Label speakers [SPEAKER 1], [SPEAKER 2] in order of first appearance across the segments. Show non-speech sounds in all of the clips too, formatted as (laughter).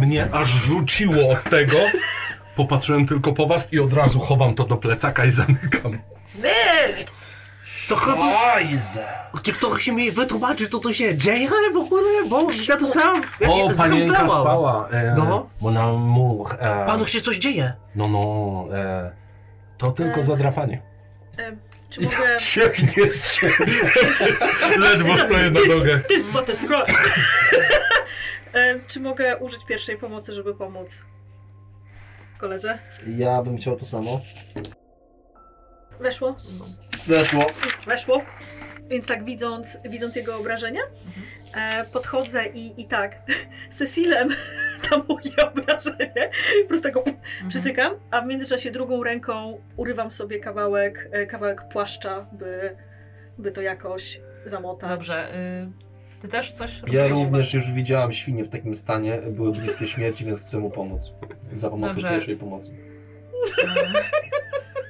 [SPEAKER 1] Mnie aż rzuciło od tego. Popatrzyłem tylko po was i od razu chowam to do plecaka i zamykam.
[SPEAKER 2] Nerd! To chyba...
[SPEAKER 3] Ajze!
[SPEAKER 2] Czy ktoś mi wytłumaczy, co to się dzieje w ogóle? Bo ja to sam... Ja
[SPEAKER 1] O,
[SPEAKER 2] nie
[SPEAKER 1] panienka
[SPEAKER 2] zrąblałam.
[SPEAKER 1] spała. E,
[SPEAKER 2] No.
[SPEAKER 1] Mon amour. E,
[SPEAKER 2] Panu się coś dzieje.
[SPEAKER 1] No, no. E, to tylko
[SPEAKER 4] E.
[SPEAKER 1] zadrapanie.
[SPEAKER 4] E, czy
[SPEAKER 1] tak
[SPEAKER 4] mogę...
[SPEAKER 1] Cieknie z ciebie. Ledwo
[SPEAKER 4] Tak,
[SPEAKER 1] stoję na nogę.
[SPEAKER 4] Ty spotę scroll! (laughs) e, czy mogę użyć pierwszej pomocy, żeby pomóc koledze?
[SPEAKER 5] Ja bym chciał to samo.
[SPEAKER 4] Weszło?
[SPEAKER 3] Weszło.
[SPEAKER 4] Weszło. Więc tak widząc, widząc jego obrażenia, e, podchodzę i, i tak (laughs) Cecilem (laughs) tam moje (laughs) obrażenie, po prostu tak go
[SPEAKER 1] Mhm.
[SPEAKER 6] Mhm.
[SPEAKER 4] przytykam, a w międzyczasie drugą ręką urywam sobie kawałek, e, kawałek płaszcza, by, by to jakoś zamotać.
[SPEAKER 6] Dobrze. Y, ty też coś
[SPEAKER 3] Ja
[SPEAKER 6] rozumiesz?
[SPEAKER 3] również już widziałam świnie w takim stanie, były bliskie śmierci, więc chcę mu pomóc. Za pomocą
[SPEAKER 6] Dobrze.
[SPEAKER 3] pierwszej pomocy.
[SPEAKER 6] No. (laughs)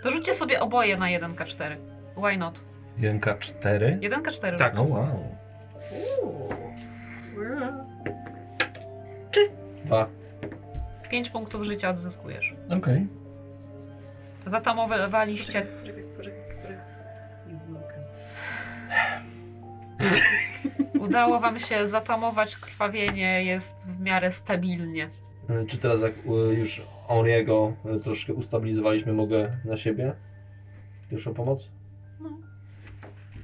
[SPEAKER 6] To rzućcie sobie oboje na 1K4. Why not?
[SPEAKER 1] Jenka 4.
[SPEAKER 6] 1K4.
[SPEAKER 1] Tak.
[SPEAKER 6] rzućcie
[SPEAKER 1] No,
[SPEAKER 6] sobie.
[SPEAKER 1] wow.
[SPEAKER 3] Dwa.
[SPEAKER 6] 5 punktów życia odzyskujesz.
[SPEAKER 1] Okej.
[SPEAKER 6] Zatamowaliście.
[SPEAKER 4] Poczekaj, poczekaj, poczekaj.
[SPEAKER 6] Udało wam się zatamować krwawienie, jest w miarę stabilnie.
[SPEAKER 3] Y, Czy teraz jak y, już Henri'ego y, troszkę ustabilizowaliśmy, mogę na siebie? Pierwszą pomoc?
[SPEAKER 4] No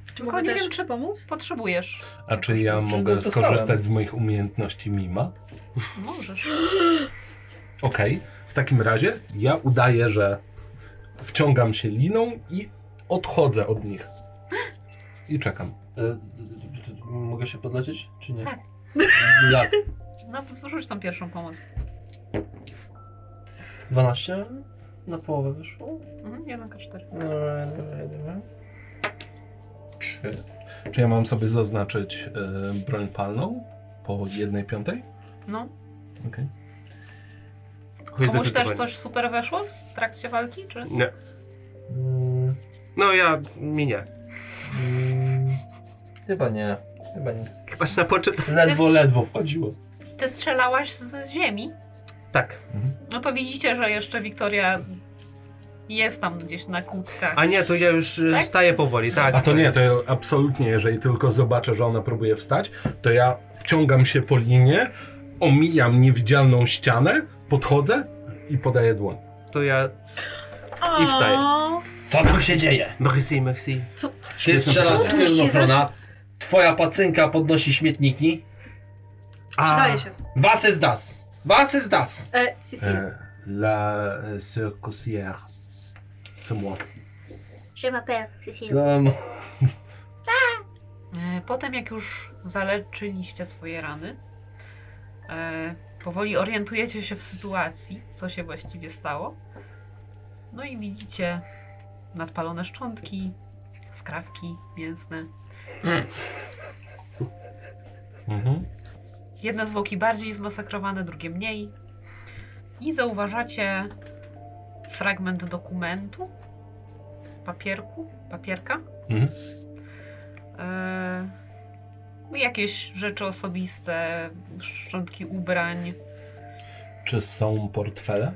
[SPEAKER 4] Czy
[SPEAKER 6] Tylko
[SPEAKER 4] mogę
[SPEAKER 6] nie
[SPEAKER 4] też
[SPEAKER 6] wiem, czy-
[SPEAKER 4] pomóc?
[SPEAKER 6] Potrzebujesz.
[SPEAKER 1] A czy ja
[SPEAKER 3] Jakoś
[SPEAKER 1] mogę
[SPEAKER 3] dostałem.
[SPEAKER 1] skorzystać z moich umiejętności mima?
[SPEAKER 6] Możesz.
[SPEAKER 1] Okej, w takim razie ja udaję, że wciągam się liną i odchodzę od nich. I czekam.
[SPEAKER 3] Y, y, y, y, Mogę się podlecieć, czy nie?
[SPEAKER 6] Tak.
[SPEAKER 3] Jak?
[SPEAKER 6] No, rzuć tam pierwszą pomoc.
[SPEAKER 3] 12? Na połowę wyszło? Mm,
[SPEAKER 6] Mhm, 1K4.
[SPEAKER 1] Czy, czy ja mam sobie zaznaczyć y, broń palną po jednej piątej?
[SPEAKER 6] No.
[SPEAKER 1] Okej.
[SPEAKER 6] Komuś też coś super weszło w trakcie walki, czy?
[SPEAKER 7] Nie.
[SPEAKER 3] Mm,
[SPEAKER 7] No ja, mi nie.
[SPEAKER 3] mm, Chyba nie. Chyba nic.
[SPEAKER 7] Chyba że na początku...
[SPEAKER 3] Ledwo,
[SPEAKER 6] Jest-
[SPEAKER 3] ledwo wchodziło.
[SPEAKER 6] Ty strzelałaś z z ziemi?
[SPEAKER 7] Tak.
[SPEAKER 6] No to widzicie, że jeszcze Wiktoria jest tam gdzieś na kuckach.
[SPEAKER 7] A nie, to ja już y,
[SPEAKER 6] Tak?
[SPEAKER 7] wstaję powoli, tak.
[SPEAKER 1] A to nie, to ja absolutnie, jeżeli tylko zobaczę, że ona próbuje wstać, to ja wciągam się po linie, omijam niewidzialną ścianę, podchodzę i podaję dłoń.
[SPEAKER 7] To ja... I wstaję.
[SPEAKER 4] A,
[SPEAKER 3] Co tu się dzieje?
[SPEAKER 7] Merci, merci.
[SPEAKER 3] Ty strzelasz
[SPEAKER 4] Co tu się
[SPEAKER 3] ochrona. Twoja pacynka podnosi śmietniki.
[SPEAKER 4] Przydaje się.
[SPEAKER 3] Was jest das. Was jest das.
[SPEAKER 4] E, Cecil.
[SPEAKER 1] la e, circusière. C'est moi.
[SPEAKER 8] Je m'appelle Cécile.
[SPEAKER 3] Um,
[SPEAKER 6] E, Potem jak już zaleczyliście swoje rany, e, powoli orientujecie się w sytuacji, co się właściwie stało. No i widzicie nadpalone szczątki, skrawki mięsne.
[SPEAKER 1] Mhm.
[SPEAKER 6] Jedne zwłoki bardziej zmasakrowane, drugie mniej. I zauważacie fragment dokumentu, papierku, papierka.
[SPEAKER 1] Mhm.
[SPEAKER 6] E, jakieś rzeczy osobiste, szczątki ubrań.
[SPEAKER 1] Czy są portfele?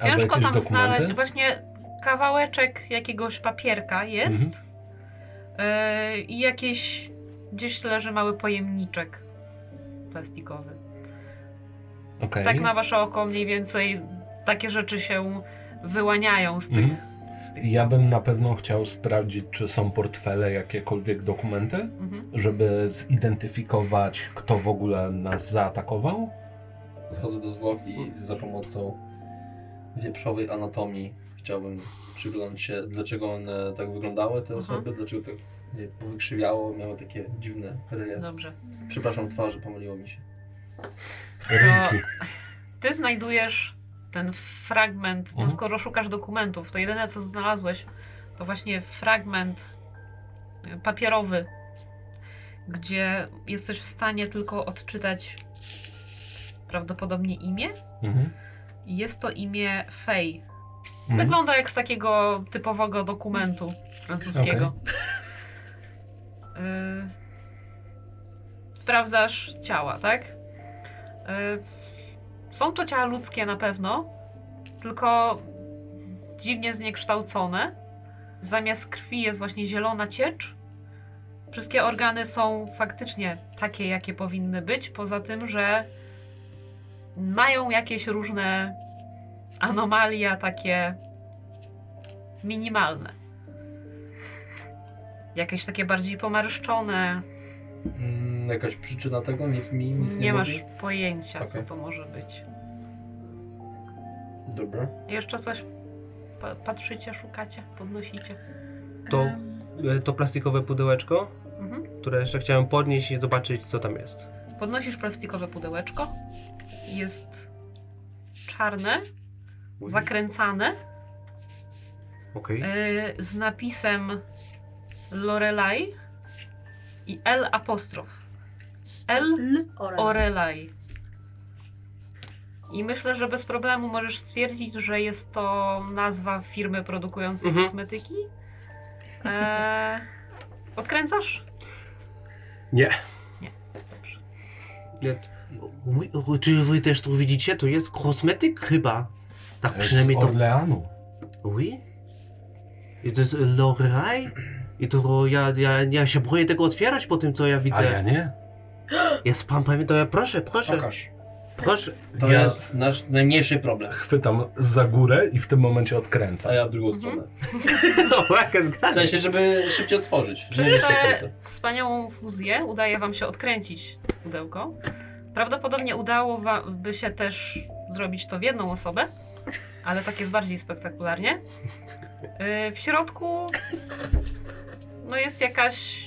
[SPEAKER 1] Albo
[SPEAKER 6] Ciężko tam
[SPEAKER 1] jakieś
[SPEAKER 6] znaleźć właśnie kawałeczek jakiegoś papierka
[SPEAKER 1] Mhm.
[SPEAKER 6] jest. E, I jakieś gdzieś leży mały pojemniczek plastikowy.
[SPEAKER 1] Okej.
[SPEAKER 6] Tak na wasze oko mniej więcej takie rzeczy się wyłaniają z tych.
[SPEAKER 1] Mhm.
[SPEAKER 6] Z tych
[SPEAKER 1] Ja bym na pewno chciał sprawdzić, czy są portfele, jakiekolwiek dokumenty,
[SPEAKER 6] Mhm.
[SPEAKER 1] żeby zidentyfikować, kto w ogóle nas zaatakował.
[SPEAKER 3] Chodzę do zwłok i za pomocą wieprzowej anatomii chciałbym przyglądać się, dlaczego one tak wyglądały, te
[SPEAKER 6] Aha.
[SPEAKER 3] osoby, dlaczego tak je powykrzywiało, miały takie dziwne reliefy.
[SPEAKER 6] Dobrze.
[SPEAKER 3] Przepraszam, twarze pomyliło mi się.
[SPEAKER 1] Ręki.
[SPEAKER 6] Ty znajdujesz ten fragment, no
[SPEAKER 1] Mhm.
[SPEAKER 6] skoro szukasz dokumentów, to jedyne co znalazłeś to właśnie fragment y, papierowy, gdzie jesteś w stanie tylko odczytać prawdopodobnie imię.
[SPEAKER 1] Mhm.
[SPEAKER 6] I Jest to imię Fej. Tak.
[SPEAKER 1] Mhm.
[SPEAKER 6] Wygląda jak z takiego typowego dokumentu francuskiego. Y, sprawdzasz ciała, tak? Y, są to ciała ludzkie na pewno, tylko dziwnie zniekształcone. Zamiast krwi jest właśnie zielona ciecz. Wszystkie organy są faktycznie takie, jakie powinny być, poza tym, że mają jakieś różne anomalia takie minimalne. Jakieś takie bardziej pomarszczone.
[SPEAKER 3] Mm, jakaś przyczyna tego? Nic mi nic nie,
[SPEAKER 6] Nie masz
[SPEAKER 3] mówi?
[SPEAKER 6] pojęcia, co
[SPEAKER 3] Okej.
[SPEAKER 6] to może być.
[SPEAKER 3] Dobra.
[SPEAKER 6] Jeszcze coś pa- patrzycie, szukacie, podnosicie.
[SPEAKER 7] To,
[SPEAKER 4] Em,
[SPEAKER 7] e, to plastikowe pudełeczko,
[SPEAKER 6] Mhm.
[SPEAKER 7] które jeszcze chciałem podnieść i zobaczyć, co tam jest.
[SPEAKER 6] Podnosisz plastikowe pudełeczko. Jest czarne, zakręcane,
[SPEAKER 7] Okej.
[SPEAKER 6] yy, z napisem Lorelai i L apostrof. L
[SPEAKER 4] L oral.
[SPEAKER 6] Orelaj. I myślę, że bez problemu możesz stwierdzić, że jest to nazwa firmy produkującej
[SPEAKER 7] Mhm.
[SPEAKER 6] kosmetyki. Eee, odkręcasz?
[SPEAKER 1] Nie.
[SPEAKER 7] Mój- o, Czy wy też tu widzicie? To jest kosmetyk chyba. Tak przynajmniej
[SPEAKER 1] Z
[SPEAKER 7] to...
[SPEAKER 1] Orleanu.
[SPEAKER 7] Oui? I to jest Lorelai? I to ja, ja, ja się boję tego otwierać po tym, co ja
[SPEAKER 1] A
[SPEAKER 7] widzę.
[SPEAKER 1] ja nie.
[SPEAKER 7] Jest pan pamięta, ja proszę, proszę,
[SPEAKER 3] Pokaż.
[SPEAKER 7] proszę.
[SPEAKER 3] To
[SPEAKER 1] Ja-
[SPEAKER 7] (laughs)
[SPEAKER 3] jest nasz najmniejszy problem.
[SPEAKER 1] Chwytam za górę i w tym momencie odkręcam.
[SPEAKER 3] A ja w drugą
[SPEAKER 6] Mhm.
[SPEAKER 3] stronę.
[SPEAKER 7] No, jaka
[SPEAKER 3] W
[SPEAKER 7] zgadza.
[SPEAKER 3] sensie, żeby szybciej otworzyć.
[SPEAKER 6] Przez
[SPEAKER 3] Nie,
[SPEAKER 6] tę
[SPEAKER 3] jeszcze
[SPEAKER 6] wspaniałą fuzję udaje wam się odkręcić pudełko. Prawdopodobnie udało wam by się też zrobić to w jedną osobę, ale tak jest bardziej spektakularnie. Yy, W środku no jest jakaś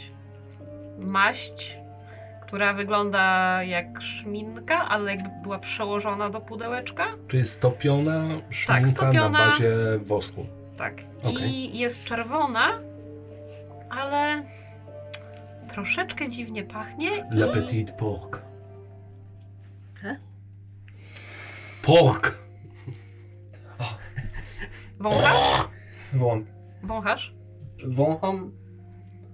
[SPEAKER 6] maść, która wygląda jak szminka, ale jakby była przełożona do pudełeczka.
[SPEAKER 1] Czy jest stopiona szminka
[SPEAKER 6] Tak, stopiona.
[SPEAKER 1] na bazie wosku?
[SPEAKER 6] Tak.
[SPEAKER 1] Okej.
[SPEAKER 6] I jest czerwona, ale troszeczkę dziwnie pachnie.
[SPEAKER 1] Le
[SPEAKER 6] i-
[SPEAKER 1] petit porc.
[SPEAKER 4] He?
[SPEAKER 1] Pork!
[SPEAKER 6] Wąchasz?
[SPEAKER 3] Wołam.
[SPEAKER 6] Wąchasz?
[SPEAKER 3] Wącham,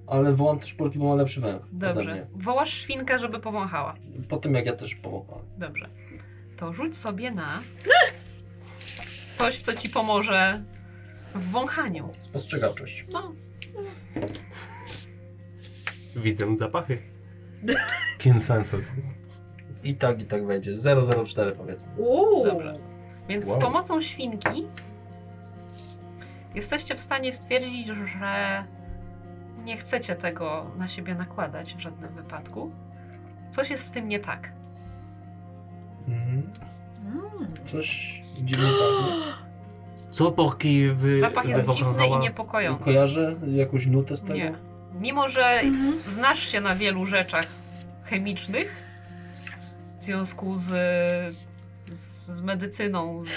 [SPEAKER 3] ale wołam też Polki, bo ma lepszy węch. ode
[SPEAKER 6] Dobrze.
[SPEAKER 3] mnie.
[SPEAKER 6] Wołasz świnkę, żeby powąchała.
[SPEAKER 3] Po tym jak ja też połowałem.
[SPEAKER 6] Dobrze. To rzuć sobie na coś, co ci pomoże w wąchaniu.
[SPEAKER 3] No, Spostrzegawczość.
[SPEAKER 6] No,
[SPEAKER 7] Widzę zapachy.
[SPEAKER 1] Kinsensus.
[SPEAKER 3] I tak, i tak będzie. 004 powiedzmy.
[SPEAKER 4] Uuu.
[SPEAKER 6] dobrze. Więc z
[SPEAKER 3] Wow.
[SPEAKER 6] pomocą świnki jesteście w stanie stwierdzić, że nie chcecie tego na siebie nakładać w żadnym wypadku. Coś jest z tym nie tak.
[SPEAKER 3] Mhm.
[SPEAKER 4] Mm.
[SPEAKER 3] Coś dziwnie pachnie.
[SPEAKER 7] Co porki wy,
[SPEAKER 6] Zapach jest dziwny i
[SPEAKER 7] wywołała?
[SPEAKER 6] niepokojący.
[SPEAKER 3] Kojarzę jakąś nutę z tego?
[SPEAKER 6] Nie. Mimo, że
[SPEAKER 4] Mhm.
[SPEAKER 6] znasz się na wielu rzeczach chemicznych w związku z, z, z medycyną, z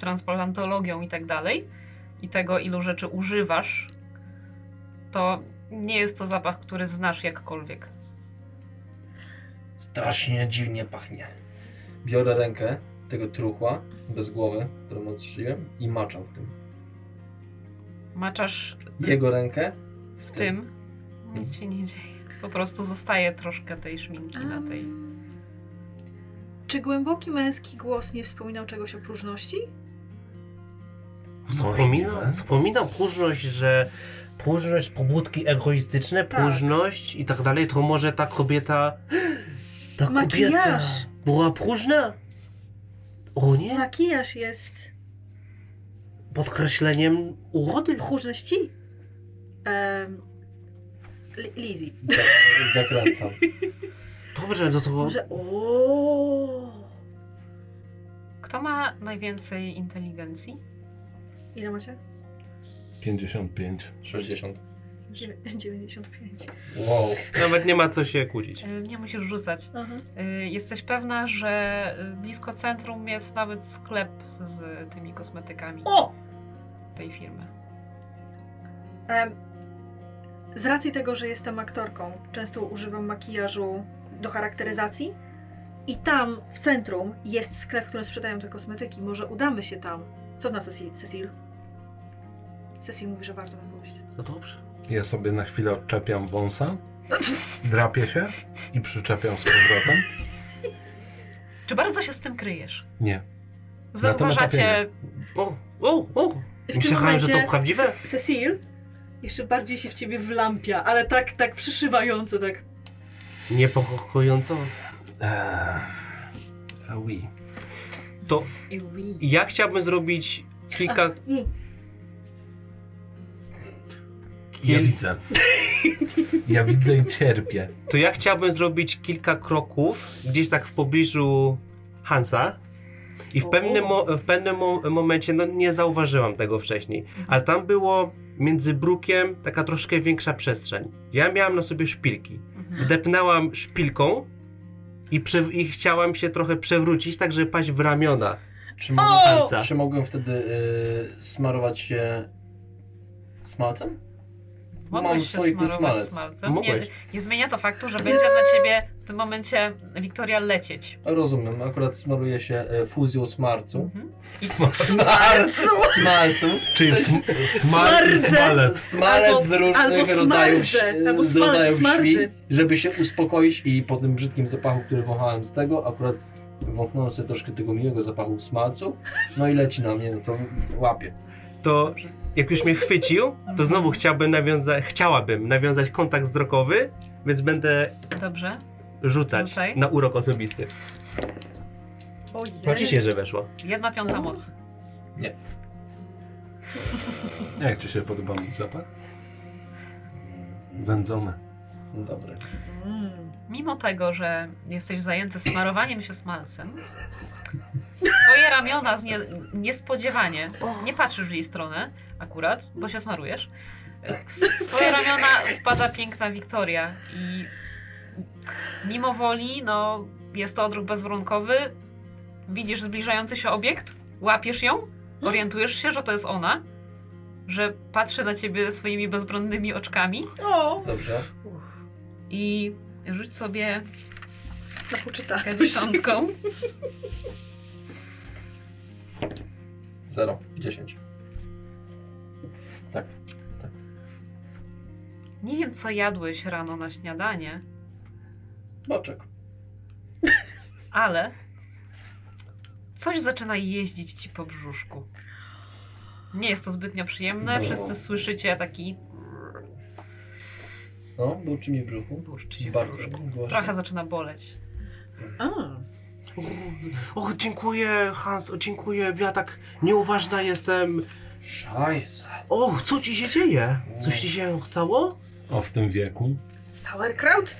[SPEAKER 6] transplantologią i tak dalej, i tego, ilu rzeczy używasz, to nie jest to zapach, który znasz jakkolwiek.
[SPEAKER 3] Strasznie dziwnie pachnie. Biorę rękę tego truchła bez głowy, którą odszyłem i maczam w tym.
[SPEAKER 6] Maczasz
[SPEAKER 3] Jego rękę
[SPEAKER 6] w tym, nic się nie dzieje. Po prostu zostaje troszkę tej szminki na tej.
[SPEAKER 4] Czy głęboki męski głos nie wspominał czegoś o próżności?
[SPEAKER 7] Wspominał, wspominał próżność, że próżność, pobudki egoistyczne,
[SPEAKER 4] Tak.
[SPEAKER 7] próżność i tak dalej, to może ta kobieta... Ta kobieta
[SPEAKER 4] Makijaż.
[SPEAKER 7] była próżna? O nie,
[SPEAKER 4] Makijaż jest
[SPEAKER 7] podkreśleniem urody.
[SPEAKER 4] próżności? Um, Lizzy.
[SPEAKER 3] Za- Zakręcam. (laughs)
[SPEAKER 7] Dobrze, no to
[SPEAKER 4] Może... O.
[SPEAKER 6] Kto ma najwięcej inteligencji?
[SPEAKER 4] Ile macie?
[SPEAKER 1] 55.
[SPEAKER 3] 60.
[SPEAKER 4] Dziewię- (laughs) 95.
[SPEAKER 3] Wow.
[SPEAKER 7] nawet nie ma co się kłócić.
[SPEAKER 6] Y, Nie musisz rzucać.
[SPEAKER 4] Aha.
[SPEAKER 6] Y, Jesteś pewna, że y, blisko centrum jest nawet sklep z tymi kosmetykami
[SPEAKER 4] O!
[SPEAKER 6] tej firmy.
[SPEAKER 4] Em, z racji tego, że jestem aktorką, często używam makijażu do charakteryzacji. I tam, w centrum, jest sklep, w którym sprzedają te kosmetyki. Może udamy się tam. Co na Cecil? Cecil? Cecil mówi, że warto tam pójść.
[SPEAKER 7] No dobrze.
[SPEAKER 1] Ja sobie na chwilę odczepiam wąsa Drapię się i przyczepiam z powrotem.
[SPEAKER 6] Czy bardzo się z tym kryjesz?
[SPEAKER 1] Nie.
[SPEAKER 6] Zauważacie,
[SPEAKER 7] O, o, o!
[SPEAKER 4] W tym
[SPEAKER 7] Myślałem, że to
[SPEAKER 4] momencie
[SPEAKER 7] prawdziwe.
[SPEAKER 4] Ce- Cecil jeszcze bardziej się w ciebie wlampia, ale tak, tak przyszywająco, tak.
[SPEAKER 7] Niepokojąco.
[SPEAKER 1] Eee, oui.
[SPEAKER 7] To
[SPEAKER 4] Ewi.
[SPEAKER 7] ja chciałbym zrobić kilka...
[SPEAKER 4] mm.
[SPEAKER 1] Ja
[SPEAKER 7] Kil...
[SPEAKER 1] widzę. Ja widzę i cierpię.
[SPEAKER 7] To ja chciałbym zrobić kilka kroków gdzieś tak w pobliżu Hansa. I w
[SPEAKER 4] O.
[SPEAKER 7] pewnym, mo- w pewnym mo- momencie, no nie zauważyłam tego wcześniej, ale tam było między brukiem taka troszkę większa przestrzeń. Ja miałam na sobie szpilki.
[SPEAKER 6] Mhm.
[SPEAKER 7] Wdepnęłam szpilką i, przew- i chciałam się trochę przewrócić, tak żeby paść w ramiona
[SPEAKER 3] Czy mogłem,
[SPEAKER 7] Hansa.
[SPEAKER 3] czy mogłem wtedy y, smarować się smalcem? Mam
[SPEAKER 6] mogłeś
[SPEAKER 3] w
[SPEAKER 6] się
[SPEAKER 3] słoiku
[SPEAKER 6] smarować
[SPEAKER 3] smalec.
[SPEAKER 6] smalcem. Nie,
[SPEAKER 7] Mogłeś.
[SPEAKER 6] nie zmienia to faktu, że będzie na ciebie w tym momencie Wiktoria lecieć.
[SPEAKER 3] Rozumiem, akurat smaruje się y, fuzją smarcu.
[SPEAKER 6] Mhm.
[SPEAKER 3] Smarcu! Smalcu!
[SPEAKER 1] Czyli sm- smar i
[SPEAKER 4] Smardzę.
[SPEAKER 1] smalec.
[SPEAKER 3] Smalec
[SPEAKER 4] Albo-
[SPEAKER 3] z różnych
[SPEAKER 4] albo
[SPEAKER 3] rodzajów,
[SPEAKER 4] smardze,
[SPEAKER 3] ś-
[SPEAKER 4] albo
[SPEAKER 3] z
[SPEAKER 4] smal-
[SPEAKER 3] rodzajów
[SPEAKER 4] smardzy.
[SPEAKER 3] świ, żeby się uspokoić i po tym brzydkim zapachu, który wąchałem z tego, akurat wąchnąłem sobie troszkę tego miłego zapachu smalcu, no i leci na mnie, no to łapie.
[SPEAKER 7] to jak już mnie chwycił, to znowu chciałbym nawiązać, chciałabym nawiązać kontakt wzrokowy, więc będę
[SPEAKER 6] Dobrze?
[SPEAKER 7] rzucać
[SPEAKER 6] Rzucaj.
[SPEAKER 7] na urok osobisty.
[SPEAKER 4] Ojej.
[SPEAKER 7] Oczywiście, że weszło.
[SPEAKER 6] Jedna piąta mocy.
[SPEAKER 1] Jak ci się podoba mój zapach? Wędzony.
[SPEAKER 3] No dobra.
[SPEAKER 4] Mm.
[SPEAKER 6] Mimo tego, że jesteś zajęty smarowaniem się smalcem, twoje ramiona z nie, niespodziewanie, nie patrzysz w jej stronę akurat, bo się smarujesz, w twoje ramiona wpada piękna Wiktoria i mimo woli, no jest to odruch bezwarunkowy, widzisz zbliżający się obiekt, łapiesz ją, orientujesz się, że to jest ona, że patrzy na ciebie swoimi bezbronnymi oczkami
[SPEAKER 4] O,
[SPEAKER 3] Dobrze.
[SPEAKER 6] i rzuć sobie
[SPEAKER 4] na poczyta. (laughs)
[SPEAKER 6] dziesiątką.
[SPEAKER 3] Zero, dziesięć. Tak.
[SPEAKER 6] Nie wiem, co jadłeś rano na śniadanie,
[SPEAKER 3] Boczek.
[SPEAKER 6] ale coś zaczyna jeździć ci po brzuszku. Nie jest to zbytnio przyjemne.
[SPEAKER 3] No.
[SPEAKER 6] Wszyscy słyszycie taki
[SPEAKER 3] No, burczy mi w brzuchu.
[SPEAKER 6] burcz się w
[SPEAKER 3] Bardzo
[SPEAKER 6] brzuszku.
[SPEAKER 3] głośno.
[SPEAKER 6] Trochę zaczyna boleć.
[SPEAKER 4] A,
[SPEAKER 7] O, o, dziękuję Hans, o, dziękuję, ja tak nieuważna jestem.
[SPEAKER 3] Szajs.
[SPEAKER 7] O, co ci się dzieje? Coś ci się stało?
[SPEAKER 1] O, w tym wieku.
[SPEAKER 4] sauerkraut?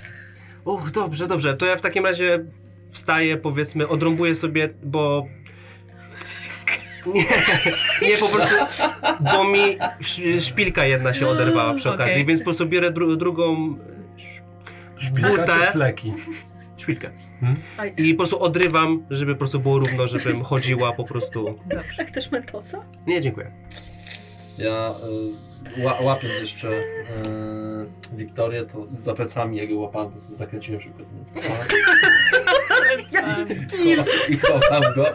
[SPEAKER 7] Och, dobrze, dobrze, to ja w takim razie wstaję, powiedzmy, odrąbuję sobie, bo... Nie, nie, po prostu, bo mi sz- szpilka jedna się oderwała przy
[SPEAKER 6] Okej.
[SPEAKER 7] okazji, więc po prostu biorę dru- drugą sz-
[SPEAKER 1] Szpilka
[SPEAKER 7] Butę.
[SPEAKER 1] czy fleki?
[SPEAKER 7] szpilkę
[SPEAKER 4] Aj,
[SPEAKER 7] i po prostu odrywam, żeby po prostu było równo, żebym chodziła po prostu.
[SPEAKER 6] Dobrze.
[SPEAKER 4] a chcesz mentosa?
[SPEAKER 7] Nie, dziękuję.
[SPEAKER 3] Ja y, ła, łapiąc jeszcze y, Wiktorię, to za plecami jego łapałem, to sobie zakręciłem szybko ten kołak i chowam go,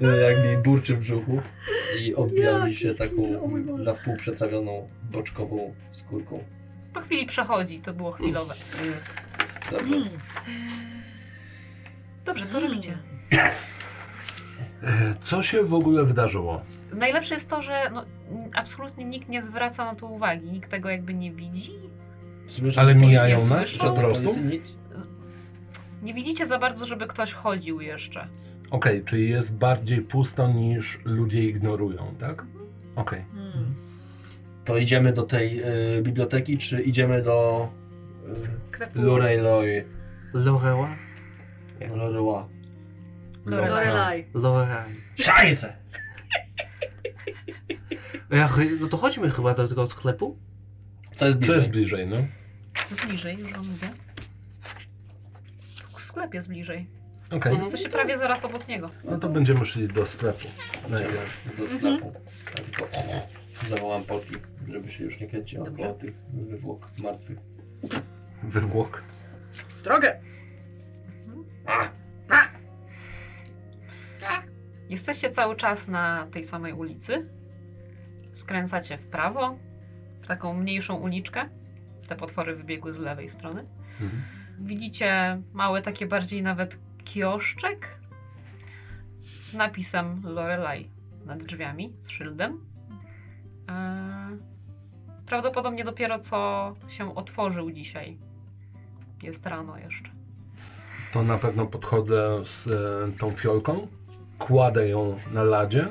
[SPEAKER 3] y, jak mi burczy w brzuchu i odbija mi
[SPEAKER 4] Jaki
[SPEAKER 3] się
[SPEAKER 4] skill,
[SPEAKER 3] taką
[SPEAKER 4] o mój Boże.
[SPEAKER 3] na wpół przetrawioną boczkową skórką.
[SPEAKER 6] Po chwili przechodzi, to było chwilowe.
[SPEAKER 3] Dobrze.
[SPEAKER 4] Mm.
[SPEAKER 6] Dobrze, co robicie?
[SPEAKER 1] E, Co się w ogóle wydarzyło?
[SPEAKER 6] Najlepsze jest to, że no, n- absolutnie nikt nie zwraca na to uwagi, nikt tego jakby nie widzi.
[SPEAKER 3] Słyszę,
[SPEAKER 1] Ale
[SPEAKER 3] że
[SPEAKER 1] mijają
[SPEAKER 6] nie
[SPEAKER 1] nas
[SPEAKER 6] słyszą.
[SPEAKER 1] po
[SPEAKER 3] policja-
[SPEAKER 1] prostu?
[SPEAKER 3] policja Nic.
[SPEAKER 6] Nie widzicie za bardzo, żeby ktoś chodził jeszcze.
[SPEAKER 1] Okej, czyli jest bardziej pusto niż ludzie ignorują, tak? Okej.
[SPEAKER 4] Mm.
[SPEAKER 3] To idziemy do tej y, biblioteki, czy idziemy do y,
[SPEAKER 4] Krepu.
[SPEAKER 3] Lurey Loy?
[SPEAKER 7] Loreła?
[SPEAKER 3] Loreła.
[SPEAKER 6] Lorelai.
[SPEAKER 4] Lorelai.
[SPEAKER 7] Loreal.
[SPEAKER 3] Szajse!
[SPEAKER 7] Ja, chy- no to chodźmy chyba do tego sklepu.
[SPEAKER 3] Co jest
[SPEAKER 1] Co
[SPEAKER 3] bliżej?
[SPEAKER 1] jest bliżej, no?
[SPEAKER 6] Jest bliżej, już wam mówię. W sklepie jest bliżej.
[SPEAKER 1] Okej,
[SPEAKER 6] Jesteście prawie zaraz obok niego.
[SPEAKER 1] no to będziemy szli do sklepu. Najpierw.
[SPEAKER 3] Idziemy do sklepu. Ja Tylko zawołam Polki, żeby się już nie kręciła
[SPEAKER 6] Dobrze.
[SPEAKER 3] po tych wywłok martwych.
[SPEAKER 1] Wywłok.
[SPEAKER 4] W drogę!
[SPEAKER 6] Jesteście cały czas na tej samej ulicy. Skręcacie w prawo, w taką mniejszą uliczkę. te potwory wybiegły z lewej strony.
[SPEAKER 1] Mhm.
[SPEAKER 6] Widzicie mały, takie bardziej nawet kioszczek z napisem Lorelai nad drzwiami, z szyldem. Eee, Prawdopodobnie dopiero co się otworzył dzisiaj. Jest rano jeszcze.
[SPEAKER 1] To na pewno podchodzę z e, tą fiolką, kładę ją na ladzie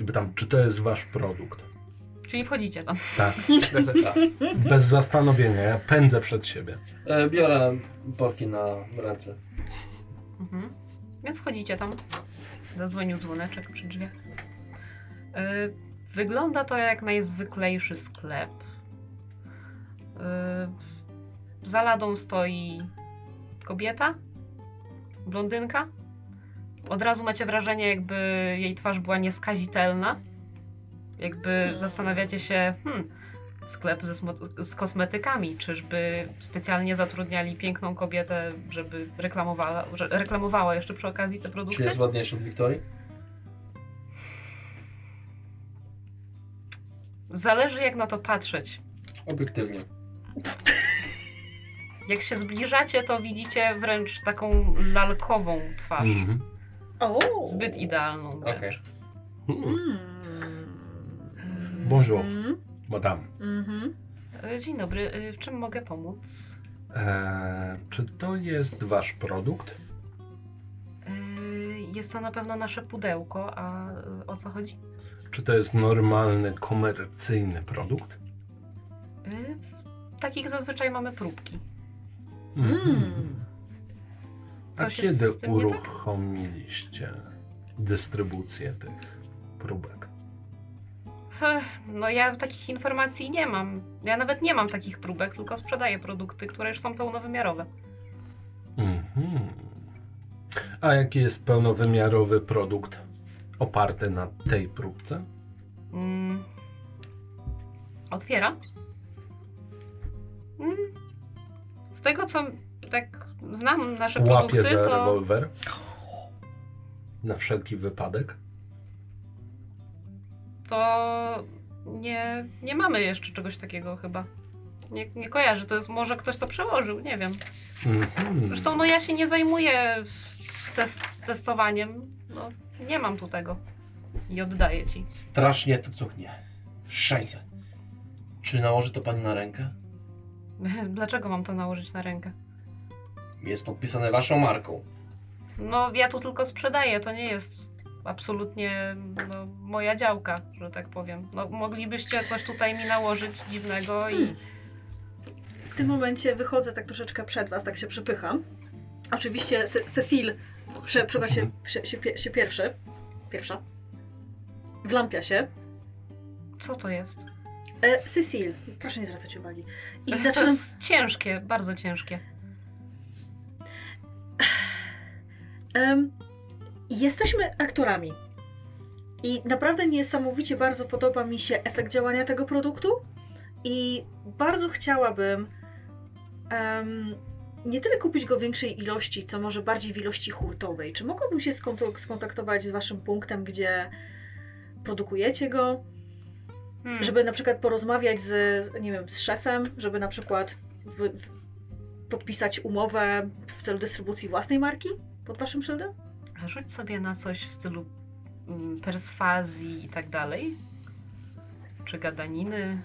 [SPEAKER 1] i pytam, czy to jest wasz produkt?
[SPEAKER 6] Czyli wchodzicie tam.
[SPEAKER 1] Tak. Bez zastanowienia, ja pędzę przed siebie.
[SPEAKER 3] E, Biorę porki na ręce.
[SPEAKER 6] Mhm. Więc wchodzicie tam. Zadzwonił dzwoneczek przy drzwiach. Yy, wygląda to jak najzwyklejszy sklep. Yy, za ladą stoi kobieta, blondynka. Od razu macie wrażenie, jakby jej twarz była nieskazitelna. Jakby zastanawiacie się, hmm, sklep ze smo- z kosmetykami. Czyżby specjalnie zatrudniali piękną kobietę, żeby reklamowała, że reklamowała jeszcze przy okazji te
[SPEAKER 3] Czy
[SPEAKER 6] produkty?
[SPEAKER 3] jest ładniejszy od Wiktorii?
[SPEAKER 6] Zależy jak na to patrzeć.
[SPEAKER 3] Obiektywnie.
[SPEAKER 6] Jak się zbliżacie, to widzicie wręcz taką lalkową twarz.
[SPEAKER 1] Mhm.
[SPEAKER 4] O!
[SPEAKER 6] Zbyt idealną wręcz.
[SPEAKER 3] Okej.
[SPEAKER 1] Mm.
[SPEAKER 4] Mm.
[SPEAKER 1] Bonjour,
[SPEAKER 4] Mhm.
[SPEAKER 1] madame.
[SPEAKER 4] Mhm.
[SPEAKER 6] E, Dzień dobry, e, w czym mogę pomóc?
[SPEAKER 1] E, czy to jest wasz produkt?
[SPEAKER 6] E, Jest to na pewno nasze pudełko, a e, o co chodzi?
[SPEAKER 1] Czy to jest normalny, komercyjny produkt?
[SPEAKER 6] E, Takich zazwyczaj mamy próbki.
[SPEAKER 4] Mm.
[SPEAKER 1] Mhm. A
[SPEAKER 6] Hmm. Coś jest
[SPEAKER 1] kiedy
[SPEAKER 6] z tym nie tak?
[SPEAKER 1] uruchomiliście dystrybucję tych próbek?
[SPEAKER 6] Heh, No ja takich informacji nie mam. Ja nawet nie mam takich próbek, tylko sprzedaję produkty, które już są pełnowymiarowe.
[SPEAKER 1] Mhm. A jaki jest pełnowymiarowy produkt oparty na tej próbce?
[SPEAKER 6] Mm. Otwieram. Mm. Z tego co tak znam nasze
[SPEAKER 1] Łapie
[SPEAKER 6] produkty,
[SPEAKER 1] za
[SPEAKER 6] to
[SPEAKER 1] rewolwer. Na wszelki wypadek.
[SPEAKER 6] to nie, nie mamy jeszcze czegoś takiego chyba. Nie, nie kojarzę, to jest może ktoś to przełożył, nie wiem.
[SPEAKER 1] Mhm.
[SPEAKER 6] Zresztą no ja się nie zajmuję test, testowaniem, no nie mam tu tego i oddaję ci. (laughs)
[SPEAKER 3] Strasznie to cuchnie. Szajse. Czy nałoży to pani na rękę?
[SPEAKER 6] Dlaczego mam to nałożyć na rękę?
[SPEAKER 3] Jest podpisane waszą marką.
[SPEAKER 6] No ja tu tylko sprzedaję, to nie jest absolutnie no, moja działka, że tak powiem. No, moglibyście coś tutaj mi nałożyć dziwnego i...
[SPEAKER 4] W tym momencie wychodzę tak troszeczkę przed was, tak się przepycham. Oczywiście Ce- Cecil prze, przepycha się, się, się, pie- się pierwszy. Pierwsza. Wlampia się. Hmm.
[SPEAKER 6] Co to jest?
[SPEAKER 4] E, Cecil, proszę nie zwracać uwagi. I
[SPEAKER 6] To
[SPEAKER 4] zaczynam...
[SPEAKER 6] jest ciężkie, bardzo ciężkie.
[SPEAKER 4] Em, jesteśmy aktorami. I naprawdę niesamowicie bardzo podoba mi się efekt działania tego produktu. I bardzo chciałabym em, nie tyle kupić go w większej ilości, co może bardziej w ilości hurtowej. Czy mogłabym się skonto- skontaktować z Waszym punktem, gdzie produkujecie go?
[SPEAKER 6] Hmm.
[SPEAKER 4] Żeby na przykład porozmawiać z, z, nie wiem, z szefem, żeby na przykład w, w, podpisać umowę w celu dystrybucji własnej marki pod Waszym szyldem?
[SPEAKER 6] Rzuć sobie na coś w stylu mm, perswazji i tak dalej. Czy gadaniny.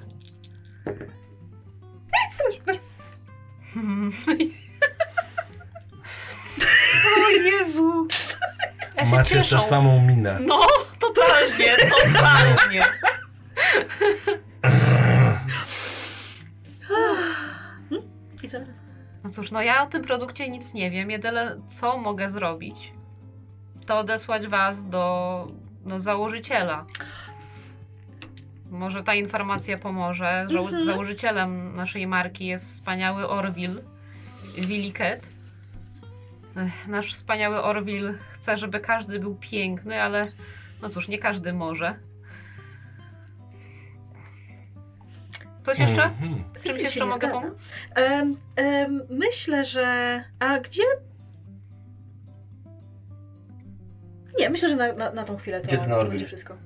[SPEAKER 6] (laughs) o Jezu! Ja się
[SPEAKER 1] Macie
[SPEAKER 6] cieszą.
[SPEAKER 1] tę samą minę.
[SPEAKER 6] No, totalnie, totalnie.
[SPEAKER 4] I co?
[SPEAKER 6] No cóż, no ja o tym produkcie nic nie wiem. Jedyne co mogę zrobić, to odesłać was do no, założyciela. Może ta informacja pomoże. Żo-
[SPEAKER 4] Mhm.
[SPEAKER 6] Założycielem naszej marki jest wspaniały Orville, Willy Cat. Ech, Nasz wspaniały Orville chce, żeby każdy był piękny, ale no cóż, nie każdy może. Coś jeszcze?
[SPEAKER 1] Mhm.
[SPEAKER 6] Z
[SPEAKER 4] Cecil
[SPEAKER 6] czymś
[SPEAKER 4] się
[SPEAKER 6] jeszcze
[SPEAKER 4] nie
[SPEAKER 6] mogę
[SPEAKER 4] zgadza.
[SPEAKER 6] pomóc?
[SPEAKER 4] Em, em, myślę, że. A gdzie? Nie, myślę, że na, na, na tą chwilę to,
[SPEAKER 3] Gdzie ten
[SPEAKER 4] to
[SPEAKER 3] Orville?
[SPEAKER 4] będzie wszystko.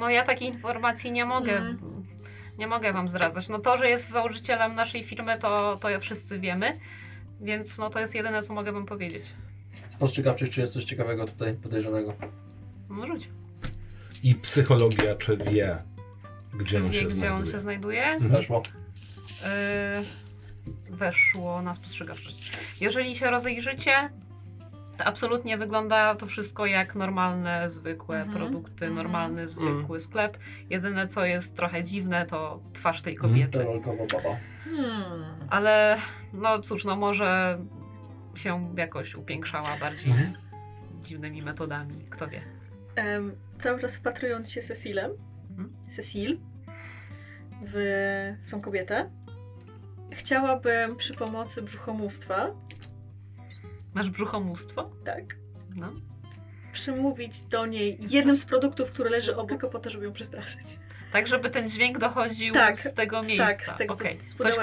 [SPEAKER 6] No ja takiej informacji nie mogę.
[SPEAKER 4] Mhm.
[SPEAKER 6] Nie Nie mogę wam zdradzać. No to, że jest założycielem naszej firmy, to, to wszyscy wiemy. Więc no to jest jedyne, co mogę wam powiedzieć.
[SPEAKER 3] Spostrzegawczość, czy jest coś ciekawego tutaj podejrzanego?
[SPEAKER 6] No rzuć.
[SPEAKER 1] I psychologia, czy wie, gdzie on
[SPEAKER 6] Wie,
[SPEAKER 1] się
[SPEAKER 6] gdzie on
[SPEAKER 1] znajduje.
[SPEAKER 6] się znajduje.
[SPEAKER 3] Weszło.
[SPEAKER 6] Yy, weszło na spostrzegawczość. Jeżeli się rozejrzycie, to absolutnie wygląda to wszystko jak normalne, zwykłe
[SPEAKER 5] Mhm.
[SPEAKER 6] produkty,
[SPEAKER 5] Mhm.
[SPEAKER 1] Mm.
[SPEAKER 6] normalny, zwykły sklep. Jedyne, co jest trochę dziwne, to twarz tej
[SPEAKER 1] Mhm.
[SPEAKER 6] kobiety.
[SPEAKER 3] Rolkowa baba.
[SPEAKER 5] Hmm.
[SPEAKER 6] Ale no cóż, no może się jakoś upiększała bardziej
[SPEAKER 1] Mhm.
[SPEAKER 6] dziwnymi metodami, kto wie.
[SPEAKER 4] Em, cały czas wpatrując się Cecilem,
[SPEAKER 3] Hmm?
[SPEAKER 6] Mhm.
[SPEAKER 4] Cecil, w, w tą kobietę, chciałabym przy pomocy brzuchomóstwa,
[SPEAKER 6] Masz brzuchomóstwo?
[SPEAKER 4] tak,
[SPEAKER 6] No.
[SPEAKER 4] przymówić do niej jednym z produktów, który leży obok, tylko po to, żeby ją przestraszyć.
[SPEAKER 6] Tak, żeby ten dźwięk dochodził
[SPEAKER 4] Tak,
[SPEAKER 6] z tego
[SPEAKER 4] tak,
[SPEAKER 6] miejsca.
[SPEAKER 4] z tego-
[SPEAKER 6] Okej.
[SPEAKER 4] z
[SPEAKER 6] Coś
[SPEAKER 4] pudełeczka.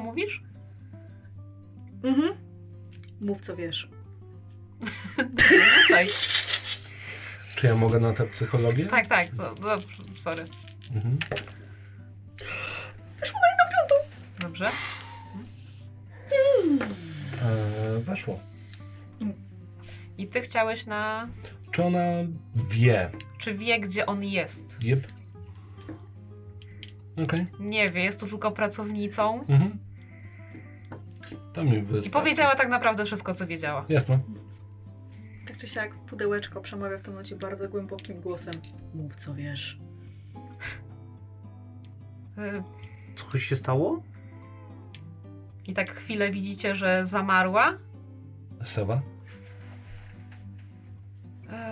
[SPEAKER 4] (laughs)
[SPEAKER 6] mówisz?
[SPEAKER 4] Mhm. Mów, co wiesz.
[SPEAKER 6] Coś.
[SPEAKER 1] Czy ja mogę na tę psychologię?
[SPEAKER 6] Tak, tak, do, dobrze, sorry.
[SPEAKER 1] Mhm.
[SPEAKER 6] Dobrze.
[SPEAKER 1] Eee, weszło.
[SPEAKER 6] I ty chciałeś na...
[SPEAKER 1] Czy ona wie?
[SPEAKER 6] Czy wie, gdzie on jest?
[SPEAKER 1] Jep. Okej.
[SPEAKER 6] Nie wie, jest tu tylko pracownicą.
[SPEAKER 1] Mhm. To mi
[SPEAKER 6] I
[SPEAKER 1] wystarczy.
[SPEAKER 6] powiedziała tak naprawdę wszystko, co wiedziała.
[SPEAKER 1] Jasne.
[SPEAKER 4] Tak czy siak, pudełeczko przemawia w tym momencie bardzo głębokim głosem. Mów, co wiesz.
[SPEAKER 6] Y,
[SPEAKER 7] Coś się stało?
[SPEAKER 6] I tak chwilę widzicie, że zamarła.
[SPEAKER 1] Sewa?
[SPEAKER 6] Eee,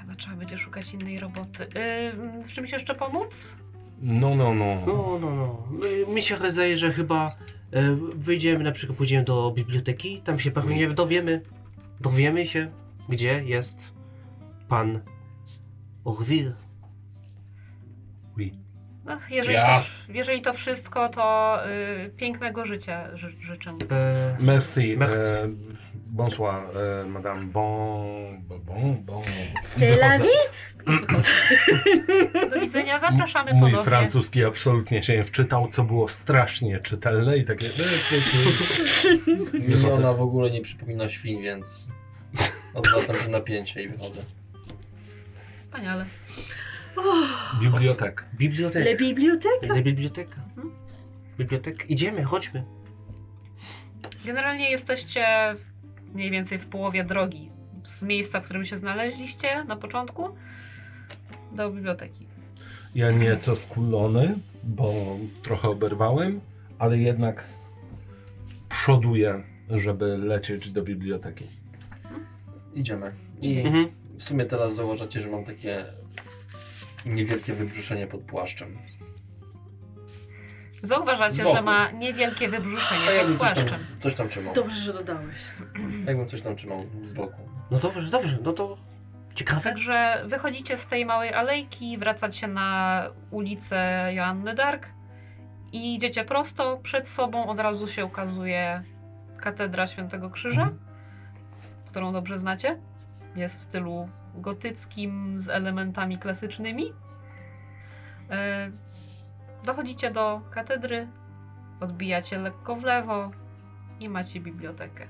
[SPEAKER 6] chyba trzeba będzie szukać innej roboty. Eee, w czymś jeszcze pomóc?
[SPEAKER 1] No, no, no.
[SPEAKER 7] No, no, no. My- Mi się zdaje, że chyba e, wyjdziemy, na przykład pójdziemy do biblioteki, tam się pewnie dowiemy. Dowiemy się, gdzie jest pan Orwil.
[SPEAKER 6] No, jeżeli,
[SPEAKER 1] Ja.
[SPEAKER 6] to, jeżeli to wszystko, to y, pięknego życia ży, życzę.
[SPEAKER 7] E,
[SPEAKER 1] Merci.
[SPEAKER 7] Merci.
[SPEAKER 1] E, bonsoir, e, madame. Bon, bon, bon. bon.
[SPEAKER 8] C'est la vie.
[SPEAKER 6] Do
[SPEAKER 3] (laughs)
[SPEAKER 6] widzenia, zapraszamy
[SPEAKER 1] Mój
[SPEAKER 6] ponownie.
[SPEAKER 1] francuski absolutnie się nie wczytał, co było strasznie czytelne i takie...
[SPEAKER 3] Mi ona w ogóle nie przypomina świn, więc odwracam się napięcie i wychodzę.
[SPEAKER 6] Wspaniale.
[SPEAKER 1] Bibliotek.
[SPEAKER 7] Biblioteka.
[SPEAKER 4] Le bibliotek?
[SPEAKER 7] Le biblioteka. Biblioteka. Idziemy, chodźmy.
[SPEAKER 6] Generalnie jesteście mniej więcej w połowie drogi z miejsca, w którym się znaleźliście na początku do biblioteki.
[SPEAKER 1] Ja nieco skulony, bo trochę oberwałem, ale jednak przoduję, żeby lecieć do biblioteki.
[SPEAKER 3] Idziemy. I
[SPEAKER 7] Mhm.
[SPEAKER 3] w sumie teraz zauważacie, że mam takie niewielkie wybrzuszenie pod płaszczem.
[SPEAKER 6] Zauważacie,
[SPEAKER 3] Bogu.
[SPEAKER 6] że ma niewielkie
[SPEAKER 3] A
[SPEAKER 6] wybrzuszenie
[SPEAKER 3] jakbym
[SPEAKER 6] pod
[SPEAKER 3] coś tam,
[SPEAKER 6] płaszczem.
[SPEAKER 3] coś tam trzymał.
[SPEAKER 4] Dobrze, że dodałeś.
[SPEAKER 3] Jakbym coś tam trzymał z boku.
[SPEAKER 7] No dobrze, dobrze, no to ciekawe.
[SPEAKER 6] Także wychodzicie z tej małej alejki, wracacie na ulicę Joanny Dark i idziecie prosto. Przed sobą od razu się ukazuje katedra Świętego Krzyża, którą dobrze znacie. Jest w stylu gotyckim z elementami klasycznymi. E, Dochodzicie do katedry, odbijacie lekko w lewo i macie bibliotekę.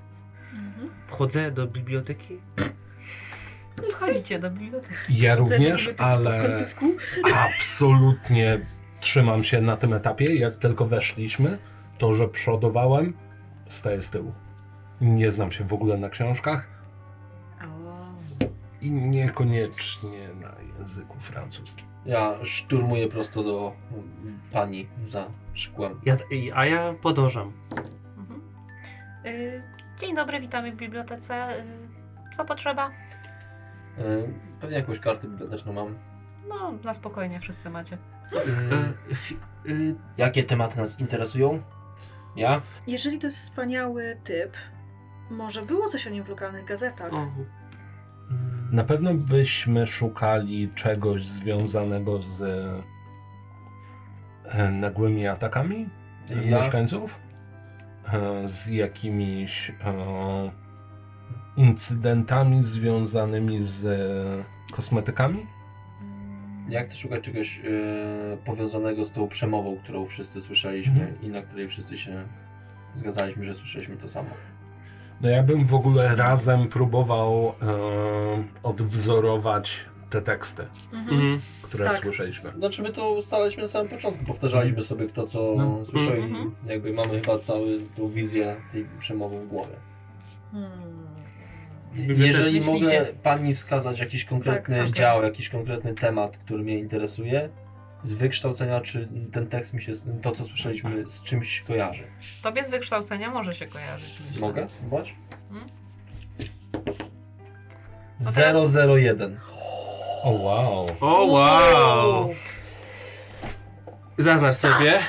[SPEAKER 4] Mhm.
[SPEAKER 7] Wchodzę do biblioteki.
[SPEAKER 6] I wchodzicie do biblioteki.
[SPEAKER 1] Ja
[SPEAKER 4] Widzę te
[SPEAKER 1] również,
[SPEAKER 4] biblioteki Po
[SPEAKER 1] ale
[SPEAKER 4] francusku?
[SPEAKER 1] absolutnie trzymam się na tym etapie. Jak tylko weszliśmy, to że przodowałem, staję z tyłu. Nie znam się w ogóle na książkach i niekoniecznie na języku francuskim.
[SPEAKER 3] Ja szturmuję prosto do mm, pani za szkłem.
[SPEAKER 7] Ja, i- a ja podążam.
[SPEAKER 6] Mhm. Y, Dzień dobry, witamy w bibliotece. Y, Co potrzeba?
[SPEAKER 3] Y, Pewnie jakąś kartę biblioteczną mam.
[SPEAKER 6] No, na spokojnie, wszyscy macie.
[SPEAKER 7] E,
[SPEAKER 3] Y,
[SPEAKER 7] ch- e,
[SPEAKER 3] Jakie tematy nas interesują? Ja?
[SPEAKER 4] Jeżeli to jest wspaniały typ, może było coś o nim w lokalnych gazetach.
[SPEAKER 7] o.
[SPEAKER 1] Na pewno byśmy szukali czegoś związanego z e, nagłymi atakami
[SPEAKER 3] Ja,
[SPEAKER 1] mieszkańców, e, z jakimiś e, incydentami związanymi z e, kosmetykami.
[SPEAKER 6] Mm,
[SPEAKER 3] Ja chcę szukać czegoś e, powiązanego z tą przemową, którą wszyscy słyszeliśmy i na której wszyscy się zgadzaliśmy, że słyszeliśmy to samo.
[SPEAKER 1] No ja bym w ogóle razem próbował e, odwzorować te teksty,
[SPEAKER 4] Mhm.
[SPEAKER 7] Mhm.
[SPEAKER 1] które
[SPEAKER 4] Tak.
[SPEAKER 1] słyszeliśmy.
[SPEAKER 3] Znaczy my to ustalaliśmy na samym początku, powtarzaliśmy sobie kto co
[SPEAKER 1] No.
[SPEAKER 3] słyszał
[SPEAKER 6] Mhm.
[SPEAKER 3] i jakby mamy chyba całą tą wizję tej przemowy w głowie.
[SPEAKER 4] Hmm.
[SPEAKER 3] Jeżeli
[SPEAKER 6] Jeśli
[SPEAKER 3] mogę
[SPEAKER 6] idzie-
[SPEAKER 3] pani wskazać jakiś konkretny
[SPEAKER 4] Tak, tak.
[SPEAKER 3] dział, jakiś konkretny temat, który mnie interesuje, z wykształcenia, czy ten tekst mi się, z- to co słyszeliśmy, z czymś kojarzy?
[SPEAKER 6] Tobie z wykształcenia może się kojarzyć, myślę.
[SPEAKER 3] Mogę? Zobacz.
[SPEAKER 6] No teraz-
[SPEAKER 3] 001.
[SPEAKER 1] O wow.
[SPEAKER 7] O wow! Zaznacz sobie.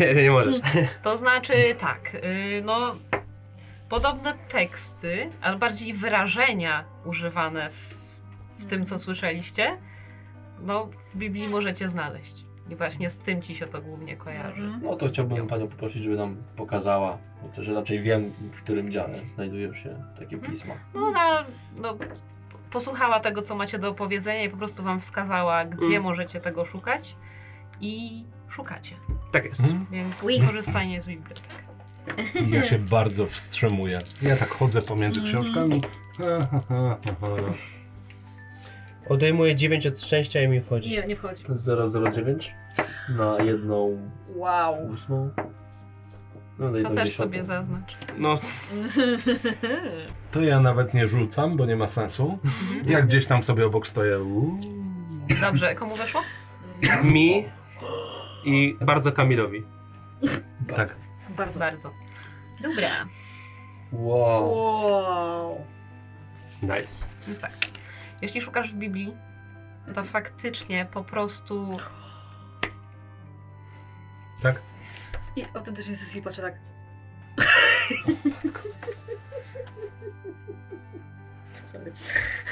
[SPEAKER 7] Nie, nie, nie możesz.
[SPEAKER 6] To znaczy tak, y, no podobne teksty, ale bardziej wyrażenia używane w, w tym,
[SPEAKER 4] Mhm.
[SPEAKER 6] co słyszeliście, no w Biblii możecie znaleźć. I właśnie z tym ci się to głównie kojarzy.
[SPEAKER 4] Mhm.
[SPEAKER 3] No to chciałbym panią poprosić, żeby nam pokazała, bo też raczej wiem, w którym dziale znajdują się takie
[SPEAKER 6] Mhm.
[SPEAKER 3] pisma.
[SPEAKER 6] No ona no, posłuchała tego, co macie do opowiedzenia i po prostu wam wskazała, gdzie
[SPEAKER 7] Mm.
[SPEAKER 6] możecie tego szukać i szukacie,
[SPEAKER 7] Tak jest.
[SPEAKER 1] Mhm.
[SPEAKER 6] więc
[SPEAKER 8] Oui.
[SPEAKER 6] korzystanie z bibliotek.
[SPEAKER 1] Ja się bardzo wstrzymuję. Ja tak chodzę pomiędzy
[SPEAKER 4] Mhm.
[SPEAKER 1] książkami.
[SPEAKER 7] Odejmuję 9 od szczęścia i mi wchodzi.
[SPEAKER 4] Nie, nie wchodzi.
[SPEAKER 3] 009 na
[SPEAKER 4] (laughs)
[SPEAKER 3] jedną
[SPEAKER 4] Wow.
[SPEAKER 3] ósmą. No na
[SPEAKER 6] To
[SPEAKER 3] jedną
[SPEAKER 6] też
[SPEAKER 3] dziesiątą.
[SPEAKER 6] sobie zaznacz.
[SPEAKER 7] No,
[SPEAKER 1] To ja nawet nie rzucam, bo nie ma sensu.
[SPEAKER 6] Mhm.
[SPEAKER 1] Ja gdzieś tam sobie obok stoję. uuu.
[SPEAKER 6] Dobrze, komu weszło?
[SPEAKER 7] mi i bardzo Kamilowi.
[SPEAKER 1] Tak.
[SPEAKER 4] Bardzo.
[SPEAKER 6] Bardzo. Dobra.
[SPEAKER 3] Wow.
[SPEAKER 4] Wow.
[SPEAKER 7] Nice.
[SPEAKER 6] Więc tak. Jeśli szukasz w Biblii, to faktycznie po prostu.
[SPEAKER 1] Tak?
[SPEAKER 4] I autentycznie Cecil patrzy tak. Sorry.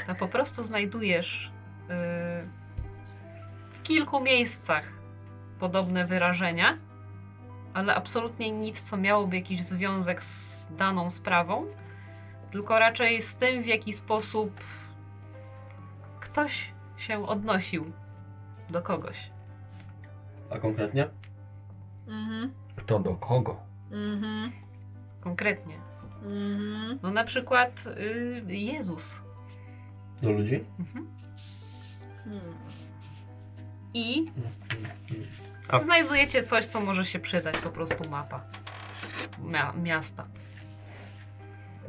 [SPEAKER 6] To po prostu znajdujesz yy, w kilku miejscach podobne wyrażenia, ale absolutnie nic, co miałoby jakiś związek z daną sprawą, tylko raczej z tym, w jaki sposób ktoś się odnosił do kogoś.
[SPEAKER 3] A konkretnie?
[SPEAKER 4] Mhm.
[SPEAKER 1] Kto do kogo?
[SPEAKER 4] Mhm.
[SPEAKER 6] Konkretnie.
[SPEAKER 4] Mhm.
[SPEAKER 6] No na przykład yy, Jezus.
[SPEAKER 3] Do ludzi?
[SPEAKER 6] Mhm.
[SPEAKER 4] Hmm.
[SPEAKER 6] I
[SPEAKER 7] A-
[SPEAKER 6] znajdujecie coś, co może się przydać, po prostu mapa Mia miasta.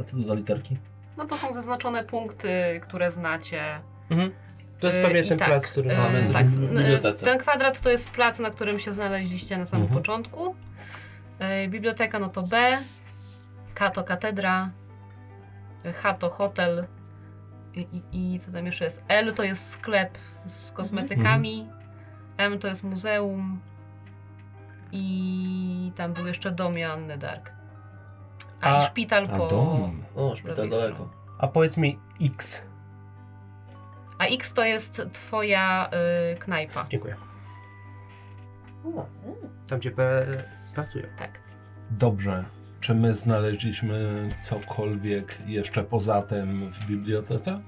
[SPEAKER 3] A co to za literki?
[SPEAKER 6] No to są zaznaczone punkty, które znacie.
[SPEAKER 7] Mhm. To jest
[SPEAKER 6] Y,
[SPEAKER 7] pewnie
[SPEAKER 6] i
[SPEAKER 7] ten
[SPEAKER 6] tak,
[SPEAKER 7] plac, który
[SPEAKER 6] y,
[SPEAKER 7] mamy.
[SPEAKER 3] jesteśmy
[SPEAKER 6] Tak,
[SPEAKER 3] w
[SPEAKER 6] y,
[SPEAKER 3] bibliotece.
[SPEAKER 6] ten kwadrat to jest plac, na którym się znaleźliście na samym
[SPEAKER 1] Mhm.
[SPEAKER 6] początku. Y, Biblioteka no to B, K to katedra, y, H to hotel i, i, i co tam jeszcze jest? L to jest sklep z kosmetykami,
[SPEAKER 7] Mhm.
[SPEAKER 6] M to jest muzeum i tam był jeszcze dom Joanny Dark. A,
[SPEAKER 7] A-
[SPEAKER 6] i szpital po...
[SPEAKER 3] O,
[SPEAKER 6] Lewej
[SPEAKER 3] szpital daleko.
[SPEAKER 7] A powiedz mi X.
[SPEAKER 6] A X to jest twoja y, knajpa.
[SPEAKER 7] Dziękuję. Tam gdzie pe... pracuję.
[SPEAKER 6] Tak.
[SPEAKER 1] Dobrze. Czy my znaleźliśmy cokolwiek jeszcze poza tym w bibliotece?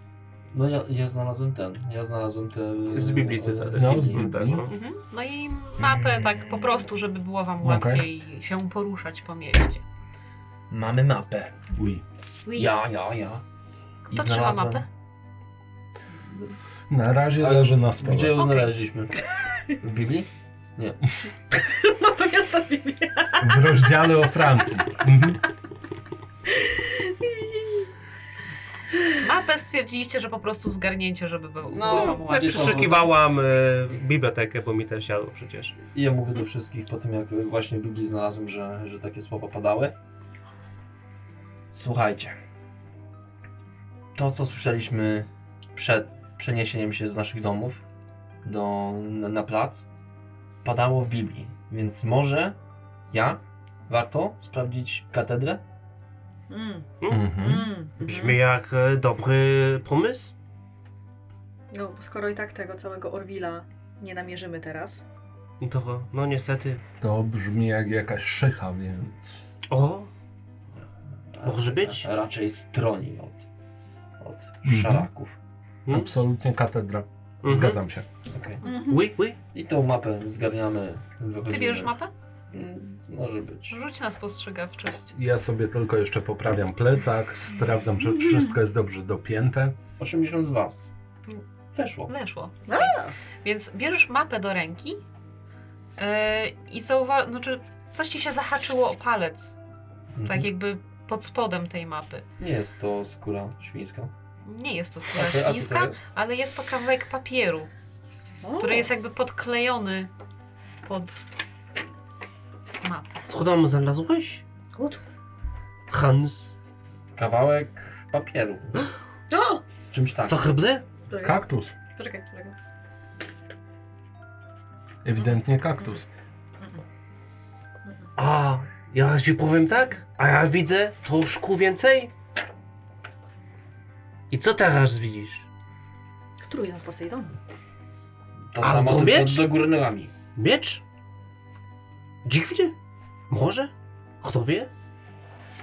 [SPEAKER 3] No ja, ja znalazłem ten. Ja znalazłem te...
[SPEAKER 7] Z Biblii
[SPEAKER 3] te-
[SPEAKER 7] cytat.
[SPEAKER 1] No,
[SPEAKER 3] te-
[SPEAKER 1] z Biblii.
[SPEAKER 7] Tak, no.
[SPEAKER 6] Mhm. No i mapę tak po prostu, żeby było wam łatwiej się poruszać po mieście.
[SPEAKER 3] Mamy mapę.
[SPEAKER 1] Ui.
[SPEAKER 3] Ja, ja, ja. I
[SPEAKER 6] Kto trzyma
[SPEAKER 3] znalazłem-
[SPEAKER 6] mapę?
[SPEAKER 1] Na razie
[SPEAKER 3] Ale
[SPEAKER 1] leży na stole.
[SPEAKER 3] Gdzie ją
[SPEAKER 6] Okej.
[SPEAKER 3] (laughs) znaleźliśmy? W Biblii?
[SPEAKER 4] (laughs) No to ja to wiem.
[SPEAKER 1] W rozdziale o Francji. Mhm.
[SPEAKER 6] Mapę stwierdziliście, że po prostu zgarnięcie, żeby było,
[SPEAKER 3] No,
[SPEAKER 6] było wam
[SPEAKER 7] Ja
[SPEAKER 6] łatwiej.
[SPEAKER 3] gdzieś-
[SPEAKER 7] przeszukiwałam e, bibliotekę, bo mi też siadło przecież.
[SPEAKER 3] I ja mówię do wszystkich po tym, jak właśnie w Biblii znalazłem, że, że takie słowa padały. Słuchajcie. To, co słyszeliśmy przed przeniesieniem się z naszych domów do, na, na plac, padało w Biblii. Więc może ja warto sprawdzić katedrę?
[SPEAKER 4] Mm.
[SPEAKER 1] Mhm.
[SPEAKER 4] Mm.
[SPEAKER 7] Brzmi jak e, dobry pomysł.
[SPEAKER 4] No, bo skoro i tak tego całego Orwila nie namierzymy teraz.
[SPEAKER 7] To, no niestety.
[SPEAKER 1] To brzmi jak jakaś szycha, więc...
[SPEAKER 7] O! Może być?
[SPEAKER 3] A, raczej stroni od, od
[SPEAKER 1] Mhm.
[SPEAKER 3] szaraków.
[SPEAKER 7] Mm.
[SPEAKER 1] Absolutnie katedra.
[SPEAKER 7] Mhm.
[SPEAKER 1] Zgadzam się.
[SPEAKER 3] Okej, Okej.
[SPEAKER 4] Mhm.
[SPEAKER 7] Oui, oui.
[SPEAKER 3] I tą mapę zgarniamy. wychodzimy.
[SPEAKER 6] Ty bierzesz mapę?
[SPEAKER 3] Mm, Może być.
[SPEAKER 6] Rzuć na spostrzegawczość.
[SPEAKER 1] Ja sobie tylko jeszcze poprawiam plecak, sprawdzam, że
[SPEAKER 4] Mhm.
[SPEAKER 1] wszystko jest dobrze dopięte.
[SPEAKER 3] 82. Weszło.
[SPEAKER 6] Weszło. Więc bierzesz mapę do ręki yy, i zauważ, znaczy coś ci się zahaczyło o palec, tak jakby pod spodem tej mapy.
[SPEAKER 3] Mhm. Nie jest to skóra świńska.
[SPEAKER 6] Nie jest to
[SPEAKER 3] A to- a
[SPEAKER 6] skóra
[SPEAKER 3] co to
[SPEAKER 6] niska,
[SPEAKER 3] jest?
[SPEAKER 6] ale jest to kawałek papieru, który jest jakby podklejony pod mapę.
[SPEAKER 7] Co tam znalazłeś?
[SPEAKER 8] Gut.
[SPEAKER 7] Hans.
[SPEAKER 3] Kawałek papieru.
[SPEAKER 4] O!
[SPEAKER 3] Z czymś tak.
[SPEAKER 7] Co chyble?
[SPEAKER 4] Poczekaj,
[SPEAKER 1] Kaktus.
[SPEAKER 4] poczekaj, którego?
[SPEAKER 1] Ewidentnie kaktus.
[SPEAKER 7] A, ja ci powiem tak? A ja widzę troszkę więcej. I co teraz widzisz?
[SPEAKER 4] Trójna Posejdonu.
[SPEAKER 3] To
[SPEAKER 7] A,
[SPEAKER 3] samo
[SPEAKER 7] bo
[SPEAKER 3] tylko
[SPEAKER 7] miecz?
[SPEAKER 3] do góry nogami.
[SPEAKER 7] Miecz? Dziwnie? Może? Kto wie?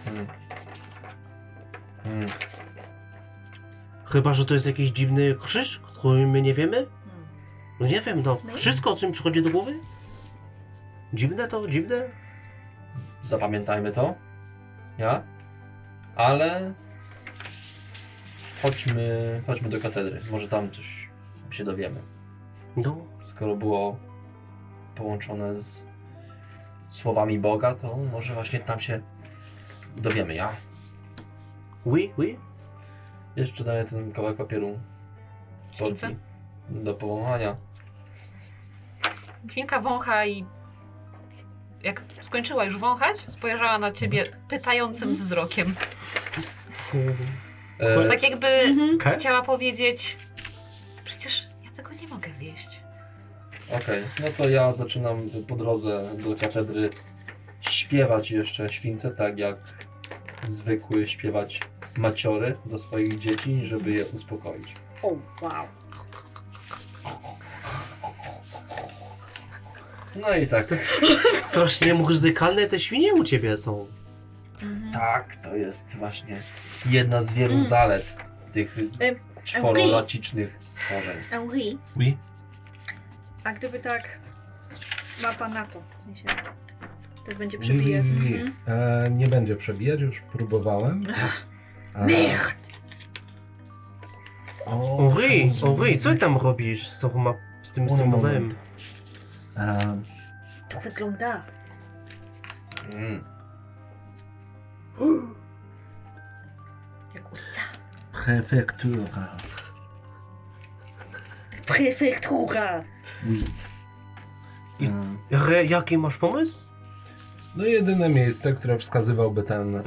[SPEAKER 3] Mm. Mm.
[SPEAKER 7] Chyba, że to jest jakiś dziwny krzyż, o którym my nie wiemy?
[SPEAKER 4] Mhm.
[SPEAKER 7] No nie wiem, no. Wszystko, o czym przychodzi do głowy? Dziwne to, dziwne.
[SPEAKER 3] Zapamiętajmy to. Ja? Ale... Chodźmy, chodźmy do katedry. Może tam coś się dowiemy.
[SPEAKER 7] No,
[SPEAKER 3] skoro było połączone z słowami Boga, to może właśnie tam się dowiemy. Ja
[SPEAKER 7] oui, oui.
[SPEAKER 3] jeszcze daję ten kawałek papieru
[SPEAKER 6] Śwince?
[SPEAKER 3] Polki do powąchania.
[SPEAKER 6] Świnka wącha i jak skończyła już wąchać, spojrzała na ciebie pytającym wzrokiem.
[SPEAKER 3] E,
[SPEAKER 6] Tak jakby
[SPEAKER 4] Mhm.
[SPEAKER 6] chciała powiedzieć, przecież ja tego nie mogę zjeść.
[SPEAKER 3] Okej, no to ja zaczynam po drodze do katedry śpiewać jeszcze śwince, tak jak zwykły śpiewać maciory do swoich dzieci, żeby je uspokoić.
[SPEAKER 8] O, wow.
[SPEAKER 3] No i tak.
[SPEAKER 7] Strasznie muzykalne te świnie u ciebie są.
[SPEAKER 4] Mhm.
[SPEAKER 3] Tak, to jest właśnie jedna z wielu zalet tych
[SPEAKER 4] Em,
[SPEAKER 3] czwororacicznych stworzeń.
[SPEAKER 8] Henri,
[SPEAKER 1] Oui.
[SPEAKER 4] A gdyby tak mapa na to, w sensie, tak będzie
[SPEAKER 1] Oui, oui,
[SPEAKER 4] przebije.
[SPEAKER 1] oui.
[SPEAKER 4] Mhm.
[SPEAKER 1] E, nie będzie przebijać, już próbowałem. E,
[SPEAKER 4] Merde!
[SPEAKER 1] o,
[SPEAKER 7] Henri, Henri, co ty tam robisz z, tą map, z tym
[SPEAKER 1] Un
[SPEAKER 7] symbolem?
[SPEAKER 1] moment. E,
[SPEAKER 4] To wygląda.
[SPEAKER 3] Mm.
[SPEAKER 4] Jak ulica.
[SPEAKER 1] Prefektura.
[SPEAKER 4] Prefektura!
[SPEAKER 1] Oui.
[SPEAKER 7] I-
[SPEAKER 1] E,
[SPEAKER 7] Re, jaki masz pomysł?
[SPEAKER 1] No jedyne miejsce, które wskazywałby ten e,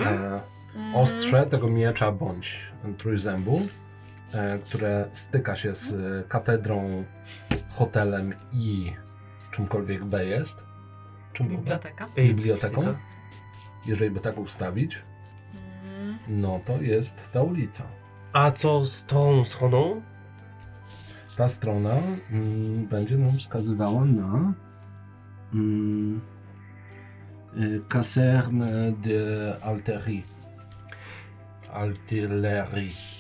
[SPEAKER 1] ostrze tego miecza bądź trójzębu, e, które styka się z e, katedrą, hotelem i czymkolwiek B jest. Czym było B?
[SPEAKER 6] Biblioteka.
[SPEAKER 7] Ej,
[SPEAKER 1] Biblioteką.
[SPEAKER 7] biblioteka.
[SPEAKER 1] Jeżeli by tak ustawić, no to jest ta ulica.
[SPEAKER 7] A co z tą stroną?
[SPEAKER 1] Ta strona mm, będzie nam wskazywała na mm, y, kaserne de artillerie. Artillerie.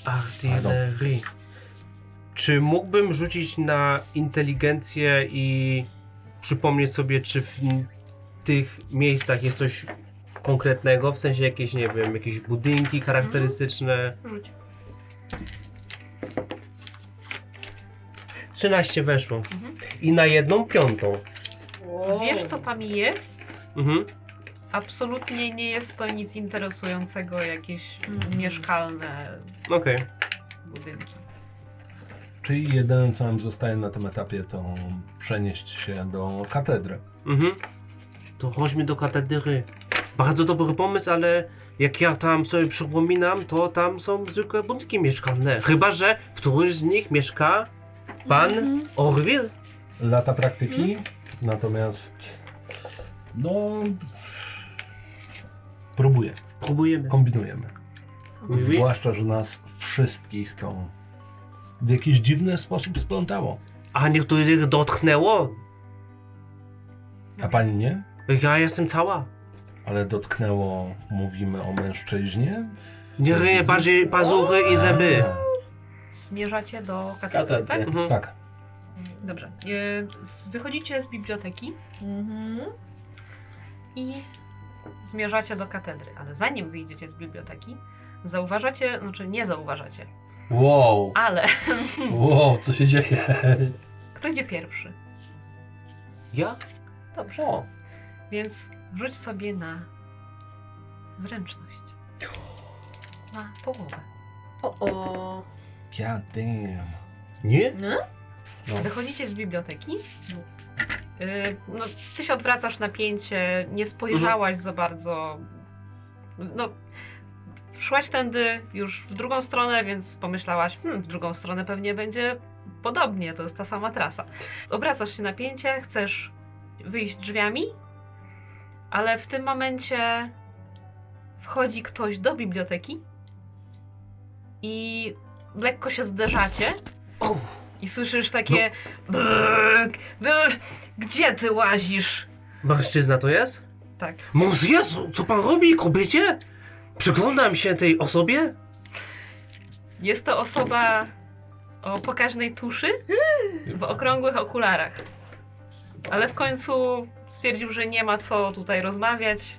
[SPEAKER 7] Artillery. Czy mógłbym rzucić na inteligencję i przypomnieć sobie, czy w n- tych miejscach jest coś konkretnego, w sensie jakieś, nie wiem, jakieś budynki charakterystyczne?
[SPEAKER 6] Mhm. Rzuć.
[SPEAKER 7] 13 weszło.
[SPEAKER 6] Mhm.
[SPEAKER 7] I na jedną piątą.
[SPEAKER 6] Wiesz co tam jest?
[SPEAKER 7] Mhm.
[SPEAKER 6] Absolutnie nie jest to nic interesującego, jakieś mieszkalne
[SPEAKER 7] Okej.
[SPEAKER 6] budynki.
[SPEAKER 1] Czyli jedynym, co nam zostaje na tym etapie, to przenieść się do katedry.
[SPEAKER 7] Mhm. To chodźmy do katedry. Bardzo dobry pomysł, ale jak ja tam sobie przypominam, to tam są zwykłe budynki mieszkalne. Chyba, że w którymś z nich mieszka pan Orville.
[SPEAKER 1] Lata praktyki, natomiast no... Próbuję,
[SPEAKER 7] Próbujemy.
[SPEAKER 1] kombinujemy.
[SPEAKER 7] Mhm.
[SPEAKER 1] Zwłaszcza, że nas wszystkich to w jakiś dziwny sposób splątało.
[SPEAKER 7] A niektórych dotknęło.
[SPEAKER 1] A pani nie?
[SPEAKER 7] Ja jestem cała.
[SPEAKER 1] Ale dotknęło, mówimy o mężczyźnie?
[SPEAKER 7] Nie ryję bardziej pazury i zęby.
[SPEAKER 6] Zmierzacie do katedry,
[SPEAKER 3] Katedry.
[SPEAKER 6] tak?
[SPEAKER 7] Mhm.
[SPEAKER 1] Tak.
[SPEAKER 6] Dobrze. E, z- Wychodzicie z biblioteki i zmierzacie do katedry, ale zanim wyjdziecie z biblioteki, zauważacie, znaczy nie zauważacie,
[SPEAKER 3] Wow,
[SPEAKER 6] ale (laughs)
[SPEAKER 3] wow, co się dzieje?
[SPEAKER 6] kto idzie pierwszy?
[SPEAKER 7] Ja?
[SPEAKER 6] Dobrze.
[SPEAKER 3] O,
[SPEAKER 6] Więc rzuć sobie na zręczność. Na połowę.
[SPEAKER 4] O, o. No?
[SPEAKER 1] God damn. Nie?
[SPEAKER 6] Wychodzicie z biblioteki. Y, No, ty się odwracasz napięcie, nie spojrzałaś za bardzo. No, szłaś tędy już w drugą stronę, więc pomyślałaś, hmm, w drugą stronę pewnie będzie podobnie, to jest ta sama trasa. Obracasz się napięcie, chcesz wyjść drzwiami, ale w tym momencie wchodzi ktoś do biblioteki i lekko się zderzacie.
[SPEAKER 2] O!
[SPEAKER 6] I słyszysz takie. brrrk, brrr, Gdzie ty łazisz?
[SPEAKER 7] Mężczyzna to jest?
[SPEAKER 6] Tak.
[SPEAKER 2] Monsieur, co, co pan robi, kobiecie?
[SPEAKER 7] Gdzie? Przyglądam się tej osobie?
[SPEAKER 6] Jest to osoba o pokaźnej tuszy w okrągłych okularach. Ale w końcu stwierdził, że nie ma co tutaj rozmawiać.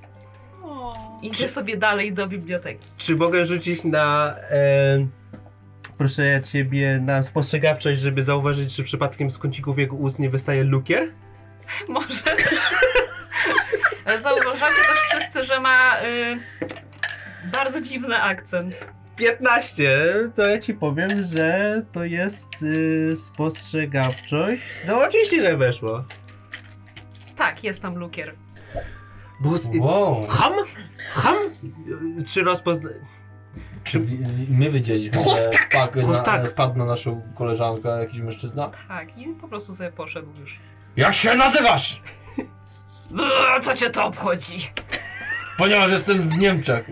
[SPEAKER 4] o.
[SPEAKER 6] Idzie sobie dalej do biblioteki. (laughs)
[SPEAKER 7] Czy mogę rzucić na. E, proszę ja ciebie, na spostrzegawczość, żeby zauważyć, czy przypadkiem z kącików jego ust nie wystaje lukier?
[SPEAKER 6] Może. Ale Zauważacie też wszyscy, że ma y, bardzo dziwny akcent.
[SPEAKER 7] 15! To ja ci powiem, że to jest y, spostrzegawczość. No oczywiście, że weszło.
[SPEAKER 6] Tak, jest tam lukier.
[SPEAKER 2] Bus...
[SPEAKER 3] wow.
[SPEAKER 2] Ham? Ham?
[SPEAKER 7] Y, Czy rozpozna...
[SPEAKER 3] Czy wi- my wiedzieliśmy,
[SPEAKER 2] Prostak!
[SPEAKER 3] że wpadł na,
[SPEAKER 2] Prostak!
[SPEAKER 3] wpadł na naszą koleżankę jakiś mężczyzna?
[SPEAKER 6] Tak, i po prostu sobie poszedł już.
[SPEAKER 3] Jak się nazywasz?
[SPEAKER 6] Brrr, Co cię to obchodzi?
[SPEAKER 3] Ponieważ jestem z Niemczech.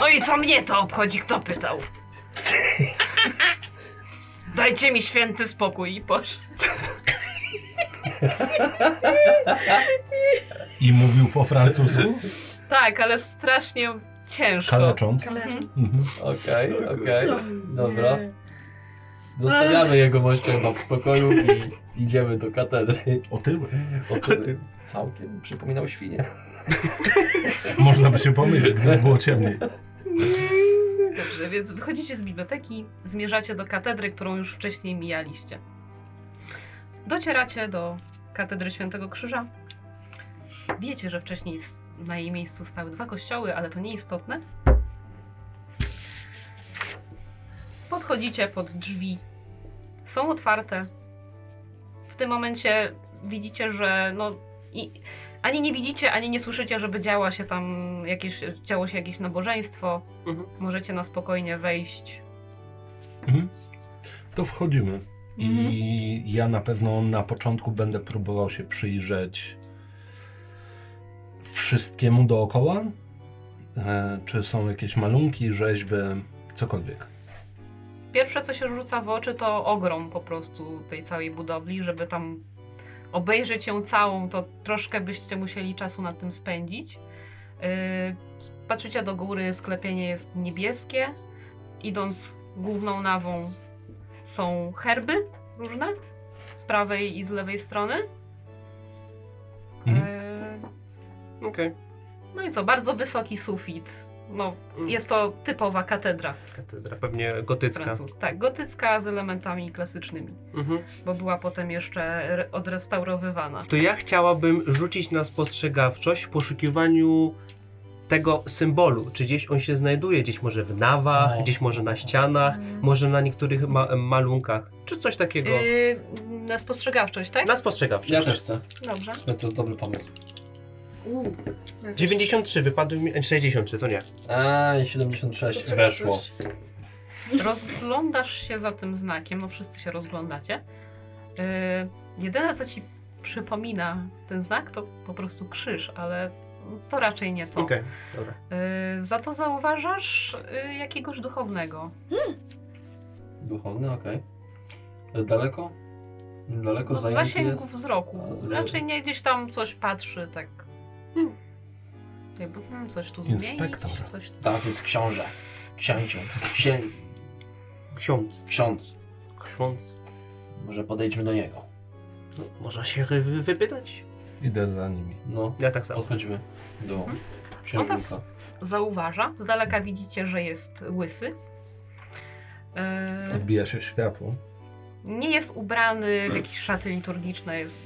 [SPEAKER 6] No i co mnie to obchodzi, kto (laughs) pytał? Dajcie mi święty spokój i poszedł.
[SPEAKER 1] I mówił po francusku,
[SPEAKER 6] Tak, ale strasznie ciężko.
[SPEAKER 1] kalecząc.
[SPEAKER 4] Kalerzy.
[SPEAKER 1] Mhm.
[SPEAKER 3] Okej, okej.
[SPEAKER 4] O,
[SPEAKER 3] Dobra.
[SPEAKER 4] nie.
[SPEAKER 3] Zostawiamy jego mościa chyba w spokoju i idziemy do katedry.
[SPEAKER 1] Otyły.
[SPEAKER 3] O którym całkiem przypominał świnię.
[SPEAKER 1] Można by się pomylić, gdyby było ciemniej.
[SPEAKER 6] Dobrze, więc wychodzicie z biblioteki, zmierzacie do katedry, którą już wcześniej mijaliście. Docieracie do katedry Świętego Krzyża. Wiecie, że wcześniej s- na jej miejscu stały dwa kościoły, ale to nieistotne. Podchodzicie pod drzwi. Są otwarte. W tym momencie widzicie, że no i ani nie widzicie, ani nie słyszycie, żeby działa się tam jakieś, działo się jakieś nabożeństwo. Możecie na spokojnie wejść.
[SPEAKER 1] To wchodzimy. I
[SPEAKER 6] Mhm.
[SPEAKER 1] ja na pewno na początku będę próbował się przyjrzeć wszystkiemu dookoła. E, czy są jakieś malunki, rzeźby, cokolwiek.
[SPEAKER 6] Pierwsze, co się rzuca w oczy, to ogrom po prostu tej całej budowli, żeby tam obejrzeć ją całą, to troszkę byście musieli czasu nad tym spędzić. Yy, patrzycie do góry, sklepienie jest niebieskie. Idąc główną nawą są herby różne z prawej i z lewej strony.
[SPEAKER 1] Mhm.
[SPEAKER 6] Yy,
[SPEAKER 7] Okej.
[SPEAKER 6] No i co, bardzo wysoki sufit. No,
[SPEAKER 7] Mm.
[SPEAKER 6] jest to typowa katedra
[SPEAKER 7] Katedra pewnie gotycka.
[SPEAKER 6] francuska. Tak, gotycka z elementami klasycznymi,
[SPEAKER 7] Mhm.
[SPEAKER 6] bo była potem jeszcze re- odrestaurowywana.
[SPEAKER 7] To ja chciałabym rzucić na spostrzegawczość w poszukiwaniu tego symbolu. Czy gdzieś on się znajduje? Gdzieś może w nawach,
[SPEAKER 3] O.
[SPEAKER 7] gdzieś może na ścianach, może na niektórych ma malunkach, czy coś takiego.
[SPEAKER 6] Yy, na spostrzegawczość, tak?
[SPEAKER 7] Na spostrzegawczość.
[SPEAKER 3] Ja też chcę.
[SPEAKER 6] Dobrze.
[SPEAKER 3] No to dobry pomysł.
[SPEAKER 4] Uuu.
[SPEAKER 7] 93, wypadły mi... 63, to nie.
[SPEAKER 3] Eee, 76 weszło.
[SPEAKER 6] Rozglądasz się za tym znakiem, no wszyscy się rozglądacie. Yy, jedyne, co ci przypomina ten znak, to po prostu krzyż, ale to raczej nie to.
[SPEAKER 7] Okej, dobra.
[SPEAKER 6] Yy, za to zauważasz yy, jakiegoś duchownego.
[SPEAKER 3] Duchowny, okej. E, Daleko? Daleko
[SPEAKER 6] No, w
[SPEAKER 3] zajęty
[SPEAKER 6] zasięgu
[SPEAKER 3] jest? no.
[SPEAKER 6] wzroku.
[SPEAKER 3] Ale-
[SPEAKER 6] Raczej nie gdzieś tam coś patrzy, tak. Jakby hmm, coś tu
[SPEAKER 1] Inspektor.
[SPEAKER 6] zmienić, coś tu.
[SPEAKER 3] Teraz jest książę. Księcią. Księ...
[SPEAKER 7] Ksiądz.
[SPEAKER 3] Ksiądz.
[SPEAKER 7] Ksiądz.
[SPEAKER 3] Może podejdźmy do niego.
[SPEAKER 7] No, można się wy- wy- wypytać.
[SPEAKER 1] Idę za nimi.
[SPEAKER 3] No,
[SPEAKER 7] Ja tak samo.
[SPEAKER 3] podchodźmy do
[SPEAKER 6] Mhm. Otas.
[SPEAKER 3] księżnika.
[SPEAKER 6] Zauważa. Z daleka widzicie, że jest łysy. E,
[SPEAKER 1] Odbija się światło.
[SPEAKER 6] nie jest ubrany w jakieś szaty liturgiczne, jest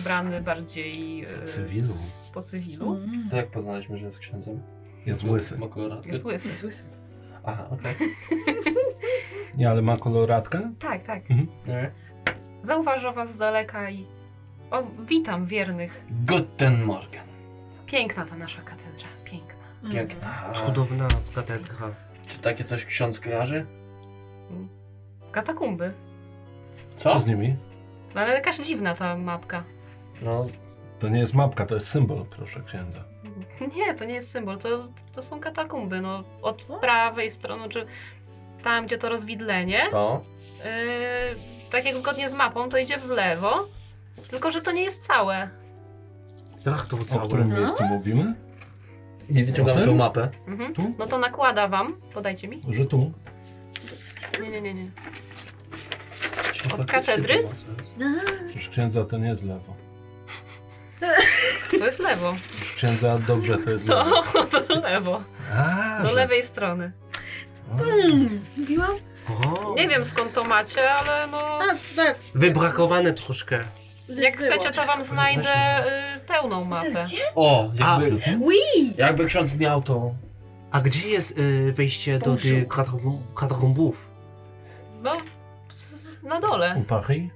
[SPEAKER 6] ubrany bardziej e,
[SPEAKER 1] Cywilu.
[SPEAKER 6] po cywilu.
[SPEAKER 4] Mm.
[SPEAKER 3] To jak poznaliśmy, że jest księdzem?
[SPEAKER 1] Jest łysy.
[SPEAKER 3] Ma koloratkę?
[SPEAKER 6] Jest łysy.
[SPEAKER 4] Jest łysy.
[SPEAKER 3] Aha, okej.
[SPEAKER 1] Nie, ale ma koloratkę?
[SPEAKER 6] Tak, tak.
[SPEAKER 3] Okay.
[SPEAKER 6] Zauważa was z daleka i... O, witam wiernych.
[SPEAKER 3] Guten Morgen.
[SPEAKER 6] Piękna ta nasza katedra, piękna.
[SPEAKER 4] Mm.
[SPEAKER 3] Piękna.
[SPEAKER 7] Cudowna katedra.
[SPEAKER 3] Czy takie coś ksiądz kojarzy?
[SPEAKER 6] Katakumby.
[SPEAKER 1] Co
[SPEAKER 3] Co?
[SPEAKER 1] z nimi?
[SPEAKER 6] No ale jakaś dziwna ta mapka.
[SPEAKER 3] No,
[SPEAKER 1] To nie jest mapka, to jest symbol, proszę księdza.
[SPEAKER 6] Nie, to nie jest symbol, to, to są katakumby, no od prawej strony, czy tam, gdzie to rozwidlenie,
[SPEAKER 3] to.
[SPEAKER 6] yy, tak jak zgodnie z mapą, to idzie w lewo, tylko że to nie jest całe.
[SPEAKER 7] Ach, to
[SPEAKER 1] O
[SPEAKER 7] całe.
[SPEAKER 1] którym miejscu mówimy?
[SPEAKER 3] Nie
[SPEAKER 1] wyciągam tą
[SPEAKER 3] mapę.
[SPEAKER 6] Mhm.
[SPEAKER 1] Tu?
[SPEAKER 6] No to nakłada wam, podajcie mi.
[SPEAKER 1] Że tu?
[SPEAKER 6] Nie, nie, nie, nie. Od katedry?
[SPEAKER 1] Proszę księdza, to nie jest lewo.
[SPEAKER 6] To jest lewo.
[SPEAKER 1] Proszę księdza, dobrze, to jest
[SPEAKER 6] To,
[SPEAKER 1] lewo.
[SPEAKER 6] to lewo.
[SPEAKER 1] A,
[SPEAKER 6] Do
[SPEAKER 1] że-
[SPEAKER 6] lewej strony.
[SPEAKER 4] Mm. Mówiłam?
[SPEAKER 7] O,
[SPEAKER 6] Nie wiem skąd to macie, ale no.
[SPEAKER 4] A, we,
[SPEAKER 7] Wybrakowane troszkę.
[SPEAKER 6] Jak
[SPEAKER 4] wyłącz.
[SPEAKER 6] chcecie, to wam znajdę y, pełną mapę.
[SPEAKER 4] Gdzie?
[SPEAKER 3] O,
[SPEAKER 7] A-
[SPEAKER 3] jakby,
[SPEAKER 4] Ui!
[SPEAKER 3] jakby ksiądz miał to.
[SPEAKER 7] A gdzie jest y, wejście do
[SPEAKER 4] Bonjour.
[SPEAKER 7] tych katakum- katakumbów?
[SPEAKER 6] No, z- na dole.
[SPEAKER 1] U Paris?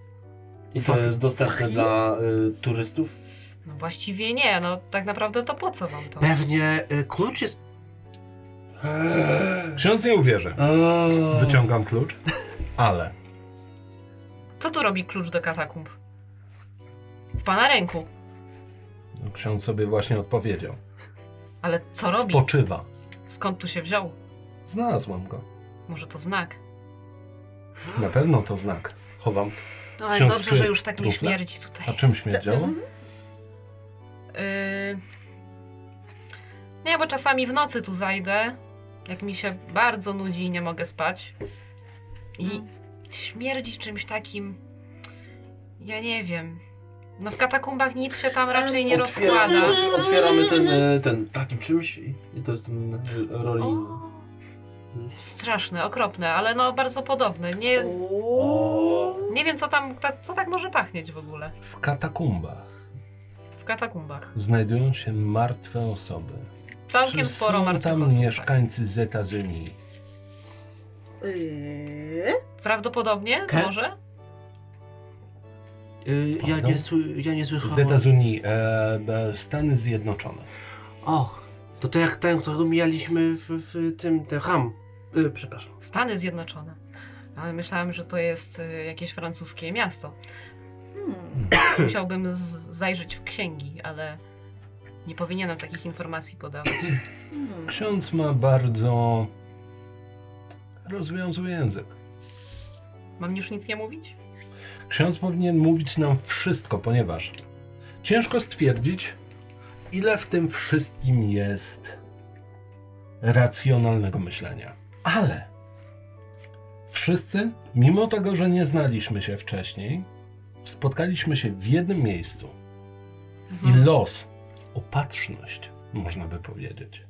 [SPEAKER 3] I to jest dostępne dla y, turystów?
[SPEAKER 6] No właściwie nie, no tak naprawdę to po co wam to?
[SPEAKER 7] Pewnie y, klucz jest...
[SPEAKER 1] Ksiądz nie uwierzy.
[SPEAKER 3] Eee.
[SPEAKER 1] Wyciągam klucz, ale
[SPEAKER 6] Co tu robi klucz do katakumb? W pana ręku.
[SPEAKER 1] no, ksiądz sobie właśnie odpowiedział.
[SPEAKER 6] Ale co robi?
[SPEAKER 1] Spoczywa.
[SPEAKER 6] Skąd tu się wziął?
[SPEAKER 1] Znalazłam go.
[SPEAKER 6] Może to znak?
[SPEAKER 1] Na pewno to znak. Chowam.
[SPEAKER 6] No ale
[SPEAKER 1] Ksiądz
[SPEAKER 6] dobrze,
[SPEAKER 1] czuje
[SPEAKER 6] że już tak nie
[SPEAKER 1] trufle?
[SPEAKER 6] śmierdzi
[SPEAKER 1] A
[SPEAKER 6] tutaj.
[SPEAKER 1] czym śmierdziało?
[SPEAKER 6] Yy... Nie, bo czasami w nocy tu zajdę, jak mi się bardzo nudzi i nie mogę spać. I śmierdzi czymś takim... Ja nie wiem. No w katakumbach nic się tam raczej nie
[SPEAKER 3] Otwieramy-
[SPEAKER 6] rozkłada.
[SPEAKER 3] Otwieramy ten, y, ten takim czymś i i to jest ten y, rolling.
[SPEAKER 6] O, straszne, okropne, ale no bardzo podobne. Nie, nie wiem, co tam, ta, co tak może pachnieć w ogóle
[SPEAKER 1] W katakumbach
[SPEAKER 6] w katakumbach.
[SPEAKER 1] znajdują się martwe osoby.
[SPEAKER 6] Całkiem
[SPEAKER 1] Czy
[SPEAKER 6] sporo
[SPEAKER 1] są
[SPEAKER 6] martwych
[SPEAKER 1] tam
[SPEAKER 6] osób. Tak.
[SPEAKER 1] mieszkańcy z Etazynii.
[SPEAKER 4] Eee,
[SPEAKER 6] Prawdopodobnie,
[SPEAKER 7] Ke-
[SPEAKER 6] może?
[SPEAKER 7] Y, ja,
[SPEAKER 1] Pardon?
[SPEAKER 7] nie sły, ja nie
[SPEAKER 1] Z
[SPEAKER 7] słyszałem.
[SPEAKER 1] Etazynii, e, e, Stany Zjednoczone.
[SPEAKER 7] Och, to to jak ten, którego mijaliśmy w, w tym, ten ham. Y, przepraszam.
[SPEAKER 6] Stany Zjednoczone. Ale myślałam, że to jest y, jakieś francuskie miasto.
[SPEAKER 4] hmm.
[SPEAKER 6] Musiałbym z- zajrzeć w księgi, ale nie powinienem takich informacji podawać.
[SPEAKER 4] Hmm.
[SPEAKER 1] Ksiądz ma bardzo... rozwiązły język.
[SPEAKER 6] Mam już nic nie mówić?
[SPEAKER 1] Ksiądz powinien mówić nam wszystko, ponieważ ciężko stwierdzić, ile w tym wszystkim jest racjonalnego myślenia. Ale wszyscy, mimo tego, że nie znaliśmy się wcześniej, spotkaliśmy się w jednym miejscu
[SPEAKER 6] Mhm.
[SPEAKER 1] i los, opatrzność, można by powiedzieć,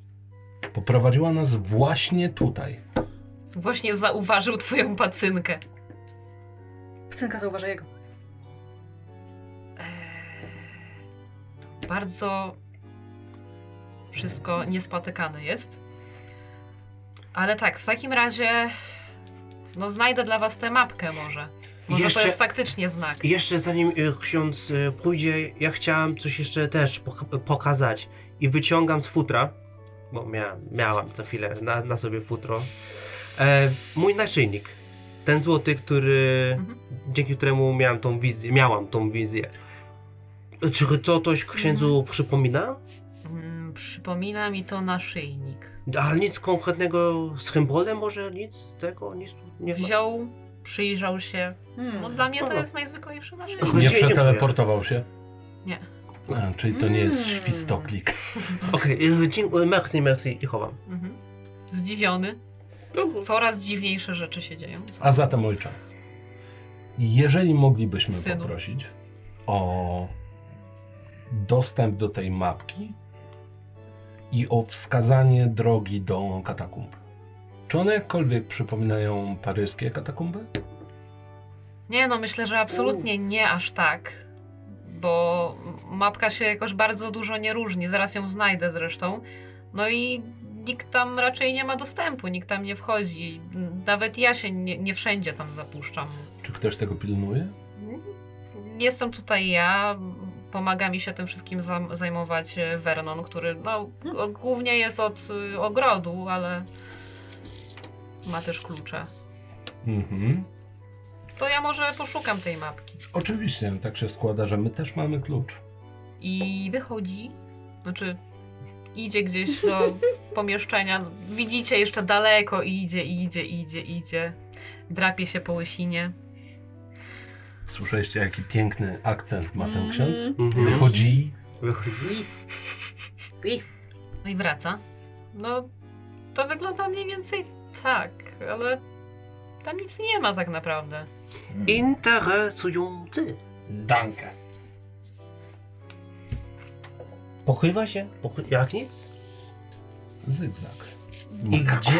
[SPEAKER 1] poprowadziła nas właśnie tutaj.
[SPEAKER 6] Właśnie zauważył twoją pacynkę.
[SPEAKER 4] Cynka zauważa jego.
[SPEAKER 6] bardzo wszystko niespotykane jest. Ale tak, w takim razie no znajdę dla was tę mapkę może. Może
[SPEAKER 7] Jeszcze-
[SPEAKER 6] to jest faktycznie znak.
[SPEAKER 7] Jeszcze zanim y, ksiądz y, pójdzie, ja chciałam coś jeszcze też poka- pokazać. I wyciągam z futra, bo mia, miałam co chwilę na, na sobie futro, e, mój naszyjnik. Ten złoty, który,
[SPEAKER 6] Mhm.
[SPEAKER 7] dzięki któremu miałam tą wizję, miałam tą wizję. Czy to coś księdzu przypomina?
[SPEAKER 6] Mm, przypomina mi to naszyjnik.
[SPEAKER 7] Ale nic konkretnego z symbolem może? Nic z tego? Nic nie ma?
[SPEAKER 6] Wziął, przyjrzał się.
[SPEAKER 4] Hmm.
[SPEAKER 6] No dla mnie to
[SPEAKER 7] Dobra.
[SPEAKER 6] jest najzwyklejszy naszyjnik.
[SPEAKER 7] Dzień
[SPEAKER 1] Nie
[SPEAKER 7] dziękuję.
[SPEAKER 1] przeteleportował się?
[SPEAKER 6] Nie.
[SPEAKER 1] A, czyli to nie jest
[SPEAKER 4] Mm.
[SPEAKER 1] świstoklik.
[SPEAKER 7] Okej, y, dziękuję, merci, merci i chowam.
[SPEAKER 6] Mhm.
[SPEAKER 7] No.
[SPEAKER 6] Zdziwiony. Coraz dziwniejsze rzeczy się dzieją. Co?
[SPEAKER 1] A zatem ojcze, Jeżeli moglibyśmy
[SPEAKER 6] Synu.
[SPEAKER 1] poprosić o dostęp do tej mapki i o wskazanie drogi do katakumb. Czy one jakkolwiek przypominają paryskie katakumby?
[SPEAKER 6] Nie no, myślę, że absolutnie nie aż tak. Bo mapka się jakoś bardzo dużo nie różni. Zaraz ją znajdę zresztą. No i nikt tam raczej nie ma dostępu, nikt tam nie wchodzi. Nawet ja się nie, nie wszędzie tam zapuszczam.
[SPEAKER 1] Czy ktoś tego pilnuje?
[SPEAKER 6] Jestem tutaj ja. Pomaga mi się tym wszystkim zam- zajmować e, Vernon, który no, g- głównie jest od y, ogrodu, ale ma też klucze.
[SPEAKER 1] Mhm.
[SPEAKER 6] To ja może poszukam tej mapki.
[SPEAKER 1] Oczywiście, tak się składa, że my też mamy klucz.
[SPEAKER 6] i wychodzi, znaczy idzie gdzieś (laughs) do pomieszczenia. Widzicie jeszcze daleko, idzie, idzie, idzie, idzie. Drapie się po łysinie.
[SPEAKER 1] Słyszeliście, jaki piękny akcent ma ten
[SPEAKER 4] Mm.
[SPEAKER 1] ksiądz?
[SPEAKER 7] Mhm.
[SPEAKER 1] Wychodzi.
[SPEAKER 7] Wychodzi.
[SPEAKER 6] No i wraca. No, to wygląda mniej więcej tak, ale tam nic nie ma tak naprawdę.
[SPEAKER 2] Interesujący.
[SPEAKER 3] Dankę.
[SPEAKER 7] Pochywa się? Pochy- jak nic?
[SPEAKER 1] Zygzak.
[SPEAKER 7] I gdzie,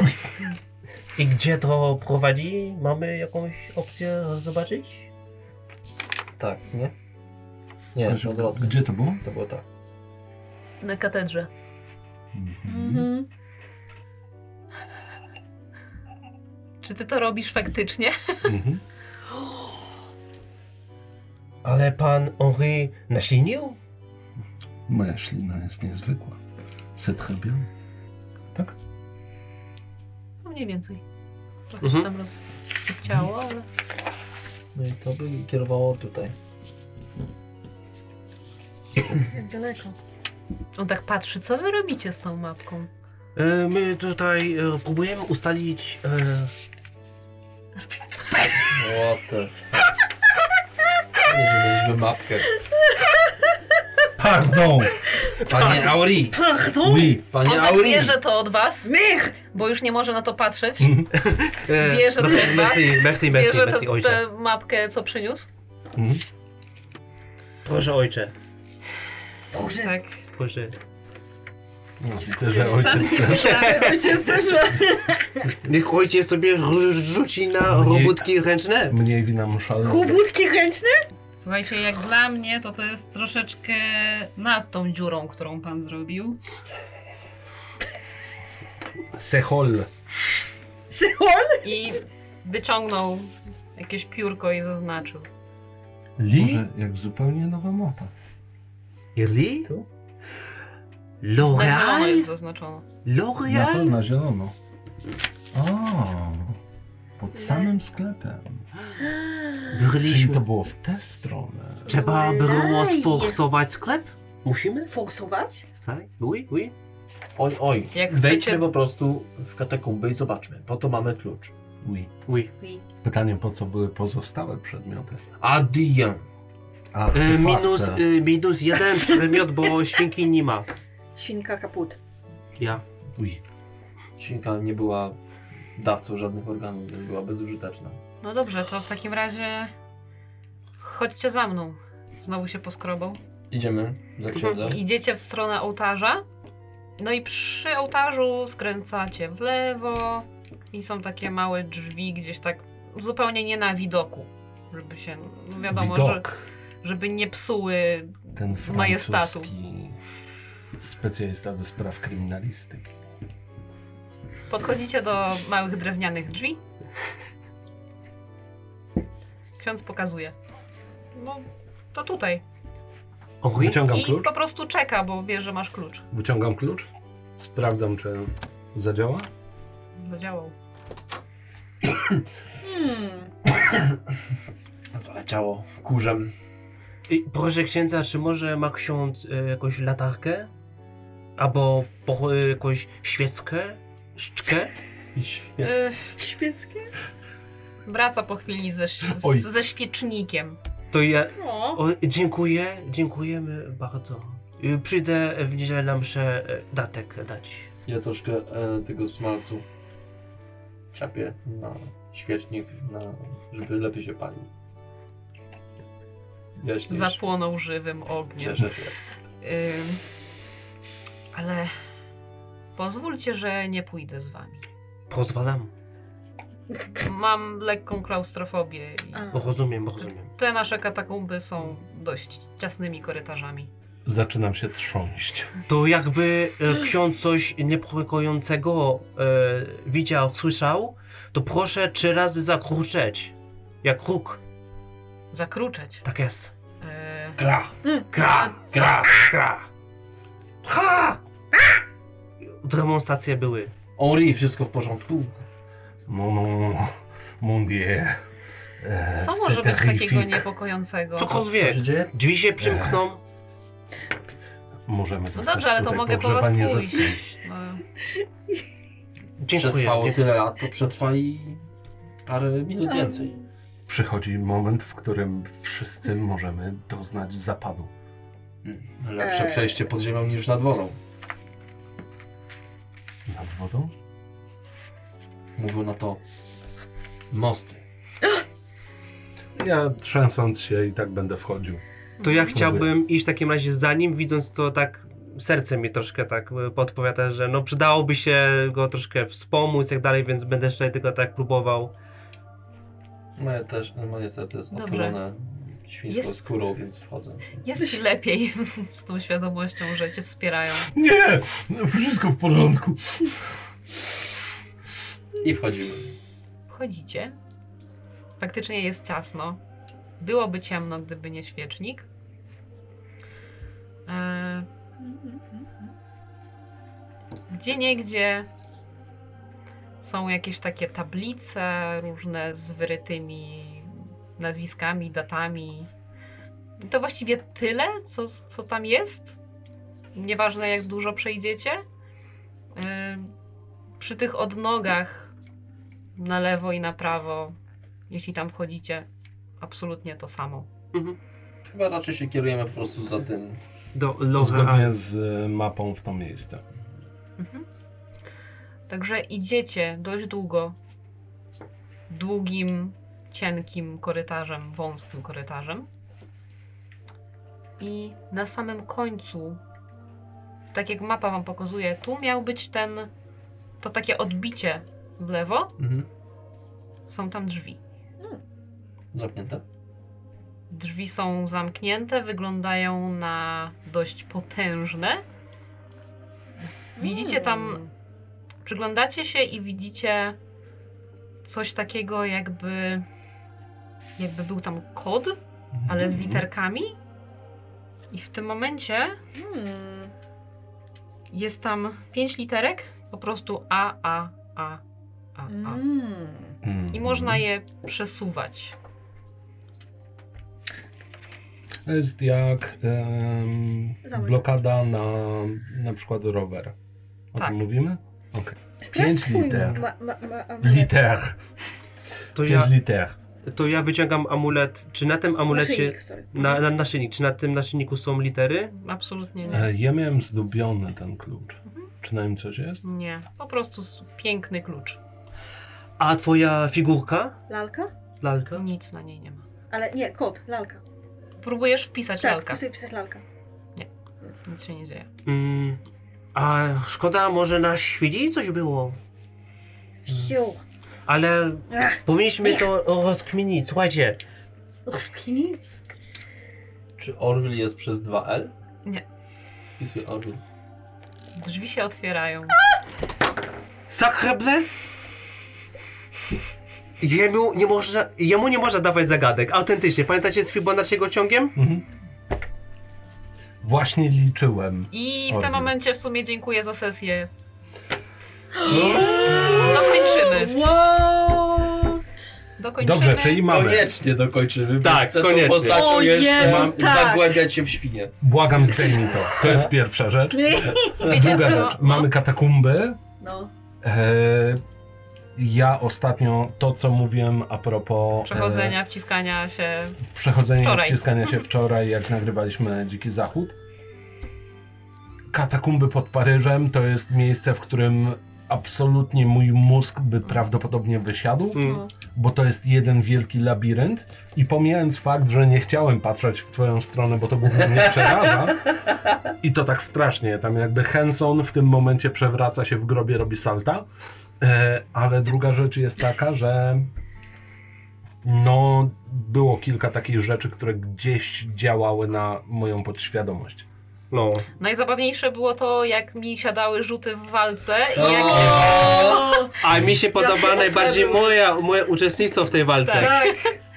[SPEAKER 7] I gdzie to prowadzi? Mamy jakąś opcję zobaczyć?
[SPEAKER 3] Tak, nie? Nie,
[SPEAKER 1] Proszę,
[SPEAKER 3] na odwrotnie.
[SPEAKER 1] Gdzie to było?
[SPEAKER 3] To było tak.
[SPEAKER 6] Na katedrze.
[SPEAKER 4] Mhm.
[SPEAKER 6] Czy ty to robisz faktycznie?
[SPEAKER 1] Mhm.
[SPEAKER 7] Ale pan Henri naślinił?
[SPEAKER 1] Moja ślina jest niezwykła. Sytchebią. Tak?
[SPEAKER 6] No mniej więcej. Trochę
[SPEAKER 7] Mhm.
[SPEAKER 6] się tam rozciało, ale...
[SPEAKER 3] No i to by kierowało tutaj.
[SPEAKER 4] Jak daleko.
[SPEAKER 6] On tak patrzy, co wy robicie z tą mapką?
[SPEAKER 7] E, My tutaj e, próbujemy ustalić. e,
[SPEAKER 3] What the fuck. Nie, że mieliśmy mapkę.
[SPEAKER 1] Pardon!
[SPEAKER 7] y,
[SPEAKER 3] Panie Auri!
[SPEAKER 4] Pardon?
[SPEAKER 1] Oui!
[SPEAKER 3] Panie
[SPEAKER 6] On tak
[SPEAKER 3] Auri!
[SPEAKER 6] bierze to od was,
[SPEAKER 4] Myrd!
[SPEAKER 6] bo już nie może na to patrzeć.
[SPEAKER 1] Mhm.
[SPEAKER 7] e,
[SPEAKER 6] Bierze
[SPEAKER 7] merci,
[SPEAKER 6] ten
[SPEAKER 7] merci, merci, merci,
[SPEAKER 6] Bierze
[SPEAKER 7] merci,
[SPEAKER 6] tę-
[SPEAKER 7] ojcze.
[SPEAKER 6] tę mapkę, co przyniósł.
[SPEAKER 1] Mhm.
[SPEAKER 7] Proszę, ojcze.
[SPEAKER 4] (laughs)
[SPEAKER 6] Tak.
[SPEAKER 7] Proszę.
[SPEAKER 1] No, Widzę, że ojciec
[SPEAKER 4] Cię zeszła.
[SPEAKER 2] Niech ojciec sobie rzu- rzuci na robótki ręczne.
[SPEAKER 1] mniej wina muszalna.
[SPEAKER 4] Chłobutki chęćne?
[SPEAKER 6] Słuchajcie, jak dla mnie, to to jest troszeczkę nad tą dziurą, którą pan zrobił.
[SPEAKER 1] Sehol.
[SPEAKER 4] Syol?
[SPEAKER 6] I wyciągnął jakieś piórko i zaznaczył.
[SPEAKER 1] Może jak zupełnie nowa mapa.
[SPEAKER 2] Jeżeli?
[SPEAKER 1] Tu?
[SPEAKER 6] Na zielono
[SPEAKER 2] L'Oreal?
[SPEAKER 6] Tak jest zaznaczone.
[SPEAKER 1] Na co?
[SPEAKER 2] L'Oreal?
[SPEAKER 1] Na zielono. O, pod samym sklepem. Czyli to
[SPEAKER 2] Byliśmy.
[SPEAKER 1] było w tę stronę.
[SPEAKER 2] Trzeba było
[SPEAKER 8] Olej.
[SPEAKER 2] sforsować sklep? Musimy?
[SPEAKER 4] (gasps) Foksować?
[SPEAKER 2] Tak? Oui, oui.
[SPEAKER 7] E,
[SPEAKER 3] Oj, oj.
[SPEAKER 6] Jak
[SPEAKER 3] Wejdźmy
[SPEAKER 6] chcecie-
[SPEAKER 3] po prostu w katakumby i zobaczmy. Po to mamy klucz.
[SPEAKER 1] Oui.
[SPEAKER 2] Oui.
[SPEAKER 1] Pytanie, po co były pozostałe przedmioty?
[SPEAKER 3] Adieu.
[SPEAKER 6] Y,
[SPEAKER 1] A,
[SPEAKER 7] E,
[SPEAKER 1] te
[SPEAKER 7] minus,
[SPEAKER 1] fakty.
[SPEAKER 7] e, minus jeden przedmiot, bo świnki nie ma.
[SPEAKER 4] Świnka kaput.
[SPEAKER 7] Ja.
[SPEAKER 1] Oui.
[SPEAKER 3] Świnka nie była dawcą żadnych organów, więc była bezużyteczna.
[SPEAKER 6] No dobrze, to w takim razie chodźcie za mną. Znowu się poskrobał.
[SPEAKER 3] Idziemy za
[SPEAKER 1] No.
[SPEAKER 3] księdza.
[SPEAKER 6] I Idziecie w stronę ołtarza. No i przy ołtarzu skręcacie w lewo i są takie małe drzwi gdzieś tak zupełnie nie na widoku, żeby się, no wiadomo, że,
[SPEAKER 1] Widok.
[SPEAKER 6] żeby nie psuły.
[SPEAKER 1] Ten
[SPEAKER 6] majestatu.
[SPEAKER 1] francuski specjalista do spraw kryminalistyki.
[SPEAKER 6] Podchodzicie do małych drewnianych drzwi. Ksiądz pokazuje. No, to tutaj.
[SPEAKER 7] Henri?
[SPEAKER 1] Wyciągam
[SPEAKER 6] I
[SPEAKER 1] klucz?
[SPEAKER 6] po prostu czeka, bo wie, że masz klucz.
[SPEAKER 1] Wyciągam klucz. Sprawdzam, czy zadziała.
[SPEAKER 6] Zadziałał.
[SPEAKER 4] Hmm.
[SPEAKER 3] Zaleciało kurzem.
[SPEAKER 7] I proszę księdza, czy może ma ksiądz e, jakąś latarkę? Albo po, e, jakąś świeckę? Szczkę?
[SPEAKER 6] Y,
[SPEAKER 4] Świeckie?
[SPEAKER 6] wraca po chwili ze, ś-
[SPEAKER 1] Oj.
[SPEAKER 6] ze świecznikiem.
[SPEAKER 7] To ja...
[SPEAKER 4] O.
[SPEAKER 7] O, dziękuję, dziękujemy bardzo. E, Przyjdę w niedzielę na mszę e, datek dać.
[SPEAKER 3] Ja troszkę e, tego smalcu ciapię na świecznik, na, żeby lepiej się palił. Jaśniejszy.
[SPEAKER 6] Zapłonął żywym ogniem.
[SPEAKER 3] Cieszę się.
[SPEAKER 6] Ym, ale pozwólcie, że nie pójdę z wami.
[SPEAKER 7] Pozwalam.
[SPEAKER 6] Mam lekką klaustrofobię i
[SPEAKER 4] A.
[SPEAKER 7] Bo rozumiem, bo rozumiem.
[SPEAKER 6] te nasze katakumby są dość ciasnymi korytarzami.
[SPEAKER 1] Zaczynam się trząść.
[SPEAKER 7] To jakby e, ksiądz coś niepokojącego e, widział, słyszał, to proszę trzy razy zakruczeć. Jak huk.
[SPEAKER 6] Zakruczeć.
[SPEAKER 7] Tak jest.
[SPEAKER 6] Yy,
[SPEAKER 3] Gra!
[SPEAKER 7] Kra, kra, kra. Ha! Demonstracje były.
[SPEAKER 3] Henri, wszystko w porządku.
[SPEAKER 1] Mon, mon, mon dieu. E,
[SPEAKER 6] co
[SPEAKER 1] c'est
[SPEAKER 6] może być takiego
[SPEAKER 1] terrifique.
[SPEAKER 6] niepokojącego?
[SPEAKER 3] Co
[SPEAKER 7] Cokolwiek.
[SPEAKER 3] się dzieje?
[SPEAKER 7] Drzwi się przymkną.
[SPEAKER 1] Możemy
[SPEAKER 6] No
[SPEAKER 1] zostać
[SPEAKER 6] dobrze, ale to
[SPEAKER 1] tutaj
[SPEAKER 6] mogę po was
[SPEAKER 1] pogrzebani, że w
[SPEAKER 6] pójść.
[SPEAKER 1] tym-
[SPEAKER 6] No,
[SPEAKER 7] Dziękuję.
[SPEAKER 3] Przetrwało tyle lat, to przetrwa i parę minut więcej.
[SPEAKER 1] Przychodzi moment, w którym wszyscy możemy doznać zapadu.
[SPEAKER 3] Lepsze
[SPEAKER 4] Eee.
[SPEAKER 3] przejście pod ziemią niż nad wodą.
[SPEAKER 1] Nad wodą?
[SPEAKER 3] Mówią na to mosty.
[SPEAKER 1] Ja trzęsąc się i tak będę wchodził.
[SPEAKER 7] To ja chciałbym iść w takim razie za nim, widząc to tak serce mi troszkę tak e, podpowiada, że no przydałoby się go troszkę wspomóc i tak dalej, więc będę jeszcze tylko tak próbował.
[SPEAKER 3] Moje, też, moje serce jest
[SPEAKER 6] Dobrze.
[SPEAKER 3] otulone świńską
[SPEAKER 6] Jest-
[SPEAKER 3] skórą, więc wchodzę.
[SPEAKER 6] Jest ci lepiej (laughs) z tą świadomością, że cię wspierają.
[SPEAKER 1] Nie! Wszystko w porządku.
[SPEAKER 3] I wchodzimy.
[SPEAKER 6] Wchodzicie. Faktycznie jest ciasno. Byłoby ciemno, gdyby nie świecznik. E, Gdzie niegdzie są jakieś takie tablice różne z wyrytymi nazwiskami, datami. To właściwie tyle, co, co tam jest. Nieważne, jak dużo przejdziecie. E, Przy tych odnogach na lewo i na prawo, jeśli tam wchodzicie, absolutnie to samo.
[SPEAKER 3] Chyba raczej się kierujemy po prostu za tym.
[SPEAKER 7] Do Locha.
[SPEAKER 1] Zgodnie z e, mapą w to miejsce.
[SPEAKER 6] Mhm. Także idziecie dość długo, długim, cienkim korytarzem, wąskim korytarzem. I na samym końcu, tak jak mapa wam pokazuje, tu miał być ten, to takie odbicie w lewo,
[SPEAKER 3] Mhm.
[SPEAKER 6] są tam drzwi.
[SPEAKER 3] Zamknięte.
[SPEAKER 6] Drzwi są zamknięte, wyglądają na dość potężne. Widzicie tam, przyglądacie się i widzicie coś takiego, jakby, jakby był tam kod, ale
[SPEAKER 1] Mhm.
[SPEAKER 6] z literkami. I w tym momencie
[SPEAKER 4] Hmm.
[SPEAKER 6] jest tam pięć literek, po prostu A, A, A, A, A.
[SPEAKER 4] Mm.
[SPEAKER 1] Mm.
[SPEAKER 6] I można je przesuwać.
[SPEAKER 1] To jest jak em,
[SPEAKER 4] Zamyk.
[SPEAKER 1] blokada na na przykład rower. O
[SPEAKER 6] Tak. No
[SPEAKER 1] tym mówimy?
[SPEAKER 4] Sprawdź
[SPEAKER 1] Pięć
[SPEAKER 4] swój
[SPEAKER 1] liter.
[SPEAKER 4] ma, ma, ma, ma,
[SPEAKER 1] Liter.
[SPEAKER 7] To ja,
[SPEAKER 1] Pięć liter.
[SPEAKER 7] to ja wyciągam amulet. Czy na tym amulecie.
[SPEAKER 4] Naszyjnik, sorry.
[SPEAKER 7] Na, na naszyjnik. Czy na tym naszyjniku są litery?
[SPEAKER 6] Absolutnie nie.
[SPEAKER 1] E, Ja miałem zdobiony ten klucz.
[SPEAKER 6] Mhm.
[SPEAKER 1] Czy na nim coś jest?
[SPEAKER 6] Nie, po prostu s- piękny klucz.
[SPEAKER 7] A twoja figurka?
[SPEAKER 4] Lalka?
[SPEAKER 7] Lalka?
[SPEAKER 6] Nic na niej nie ma.
[SPEAKER 4] Ale nie, kot, lalka.
[SPEAKER 6] Próbujesz wpisać
[SPEAKER 4] Tak,
[SPEAKER 6] lalka.
[SPEAKER 4] tu sobie pisać lalka.
[SPEAKER 1] Hmm.
[SPEAKER 6] Nic się nie dzieje.
[SPEAKER 7] Mm, a szkoda, może na świeci coś było.
[SPEAKER 4] Wsiu.
[SPEAKER 7] Ale
[SPEAKER 4] Ach,
[SPEAKER 7] powinniśmy to rozkminić. Słuchajcie,
[SPEAKER 4] rozkminić.
[SPEAKER 3] Czy Orwil jest przez 2L?
[SPEAKER 6] Nie.
[SPEAKER 3] Wpisuję Orwil.
[SPEAKER 6] Drzwi się otwierają.
[SPEAKER 7] Sakreble? Jemu nie, można, jemu nie można dawać zagadek, autentycznie. Pamiętacie z Fibonacciego ciągiem?
[SPEAKER 1] Mhm. Właśnie liczyłem.
[SPEAKER 6] I w
[SPEAKER 1] Ładnie.
[SPEAKER 6] tym momencie w sumie dziękuję za sesję. I
[SPEAKER 1] No.
[SPEAKER 6] dokończymy.
[SPEAKER 4] What?
[SPEAKER 6] Dokończymy.
[SPEAKER 1] Dobrze, czyli mamy.
[SPEAKER 3] Koniecznie dokończymy. bo
[SPEAKER 7] Tak,
[SPEAKER 3] chcę tą
[SPEAKER 7] koniecznie.
[SPEAKER 3] postacią
[SPEAKER 4] O
[SPEAKER 3] jeszcze
[SPEAKER 4] Jezu,
[SPEAKER 3] mam
[SPEAKER 4] tak.
[SPEAKER 3] zagłębiać się w świnie.
[SPEAKER 1] Błagam, zdejmij to. To jest pierwsza rzecz.
[SPEAKER 6] Wiecie
[SPEAKER 1] Druga
[SPEAKER 6] co? No,
[SPEAKER 1] rzecz. Mamy katakumby.
[SPEAKER 4] No.
[SPEAKER 1] E, ja ostatnio to, co mówiłem a propos
[SPEAKER 6] Przechodzenia, wciskania się.
[SPEAKER 1] E, przechodzenia
[SPEAKER 6] Wczoraj.
[SPEAKER 1] i wciskania się wczoraj, jak nagrywaliśmy Dziki Zachód. Katakumby pod Paryżem to jest miejsce, w którym absolutnie mój mózg by prawdopodobnie wysiadł.
[SPEAKER 4] no.
[SPEAKER 1] bo to jest jeden wielki labirynt i pomijając fakt, że nie chciałem patrzeć w twoją stronę, bo to głównie mnie przeraża i to tak strasznie, tam jakby Henson w tym momencie przewraca się w grobie, robi salta, e, ale druga rzecz jest taka, że no było kilka takich rzeczy, które gdzieś działały na moją podświadomość.
[SPEAKER 7] No.
[SPEAKER 6] Najzabawniejsze było to, jak mi siadały rzuty w walce i jak się...
[SPEAKER 4] O,
[SPEAKER 7] A mi się podoba
[SPEAKER 4] Ja-
[SPEAKER 7] najbardziej moja, moje uczestnictwo w tej walce.
[SPEAKER 4] tak,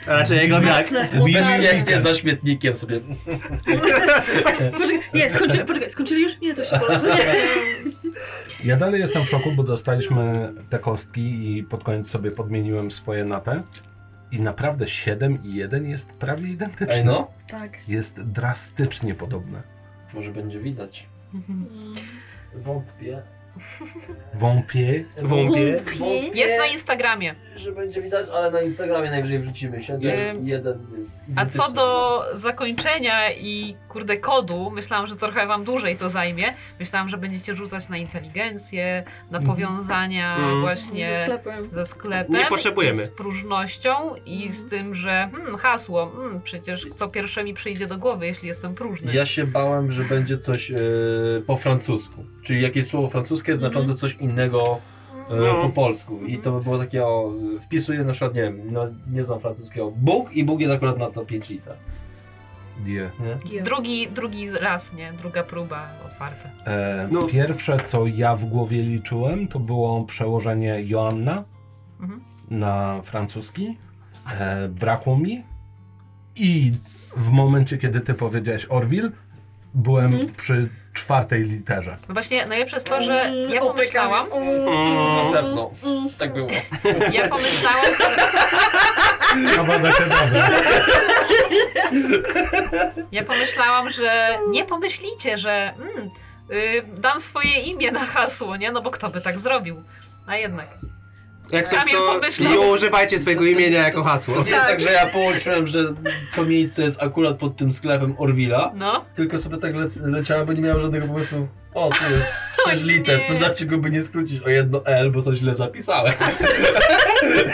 [SPEAKER 7] A Raczej jego brak.
[SPEAKER 4] mocne utarcie.
[SPEAKER 3] Bezpiecznie za śmietnikiem sobie.
[SPEAKER 4] (laughs) Poczekaj, nie, skończyli, poczekaj, skończyli już? Nie, to
[SPEAKER 1] (laughs)
[SPEAKER 4] się poleży, nie.
[SPEAKER 1] Ja dalej jestem w szoku, bo dostaliśmy te kostki i pod koniec sobie podmieniłem swoje na te. I naprawdę 7 i 1 jest prawie identyczne.
[SPEAKER 3] Ej no,
[SPEAKER 4] Tak.
[SPEAKER 1] Jest drastycznie podobne.
[SPEAKER 3] może będzie widać. Wątpię,
[SPEAKER 1] Wąpie.
[SPEAKER 7] Wąpie.
[SPEAKER 6] Jest na Instagramie.
[SPEAKER 3] że będzie widać, ale na Instagramie najwyżej wrzucimy. Siedem,
[SPEAKER 6] Ym,
[SPEAKER 3] jeden jest
[SPEAKER 6] A co
[SPEAKER 3] identyczny.
[SPEAKER 6] do zakończenia i kurde kodu, myślałam, że trochę wam dłużej to zajmie. Myślałam, że będziecie rzucać na inteligencję, na powiązania
[SPEAKER 7] Mhm.
[SPEAKER 4] Ze
[SPEAKER 6] właśnie
[SPEAKER 4] sklepem.
[SPEAKER 6] ze sklepem.
[SPEAKER 7] Nie potrzebujemy.
[SPEAKER 6] I z próżnością i
[SPEAKER 3] Mhm.
[SPEAKER 6] z tym, że hmm, hasło, hmm, przecież co pierwsze mi przyjdzie do głowy, jeśli jestem próżny.
[SPEAKER 3] Ja się bałem, że będzie coś e, po francusku. Czyli jakieś słowo francuskie
[SPEAKER 6] Mhm.
[SPEAKER 3] znaczące coś innego e,
[SPEAKER 7] No.
[SPEAKER 3] po polsku. I to by było takie o. Wpisuję na przykład, nie wiem, no, nie znam francuskiego. Bóg i Bóg jest akurat na, na 5 liter.
[SPEAKER 1] Die.
[SPEAKER 3] Nie?
[SPEAKER 6] Drugi, drugi raz, nie? Druga próba otwarta.
[SPEAKER 1] E,
[SPEAKER 7] No.
[SPEAKER 1] Pierwsze, co ja w głowie liczyłem, to było przełożenie Joanna
[SPEAKER 6] Mhm.
[SPEAKER 1] na francuski. E, brakło mi. I w momencie, kiedy ty powiedziałeś Orville, byłem
[SPEAKER 4] Mhm.
[SPEAKER 1] przy czwartej literze.
[SPEAKER 6] No właśnie najlepsze jest
[SPEAKER 3] Mm,
[SPEAKER 6] to, że ja
[SPEAKER 4] Opykam.
[SPEAKER 6] pomyślałam, Mhm.
[SPEAKER 7] Mm.
[SPEAKER 3] Na pewno. Tak było.
[SPEAKER 6] ja pomyślałam,
[SPEAKER 1] Kawada się dobra. (laughs)
[SPEAKER 6] ja pomyślałam, że nie pomyślicie, że mm, y, dam swoje imię na hasło, nie? No bo kto by tak zrobił? A jednak.
[SPEAKER 7] Jak coś
[SPEAKER 6] Kamil
[SPEAKER 7] to,
[SPEAKER 6] pomyślał.
[SPEAKER 7] nie używajcie swojego imienia jako
[SPEAKER 3] To
[SPEAKER 7] hasło.
[SPEAKER 3] nie jest tak, że ja połączyłem, że to miejsce jest akurat pod tym sklepem Orwilla,
[SPEAKER 6] No,
[SPEAKER 3] tylko sobie tak lec- leciałem, bo nie miałem żadnego pomysłu. O, tu jest
[SPEAKER 6] (laughs)
[SPEAKER 3] 6
[SPEAKER 6] O
[SPEAKER 3] liter,
[SPEAKER 6] nie.
[SPEAKER 3] to dlaczego by nie skrócić o jedno L, bo coś źle zapisałem. (laughs)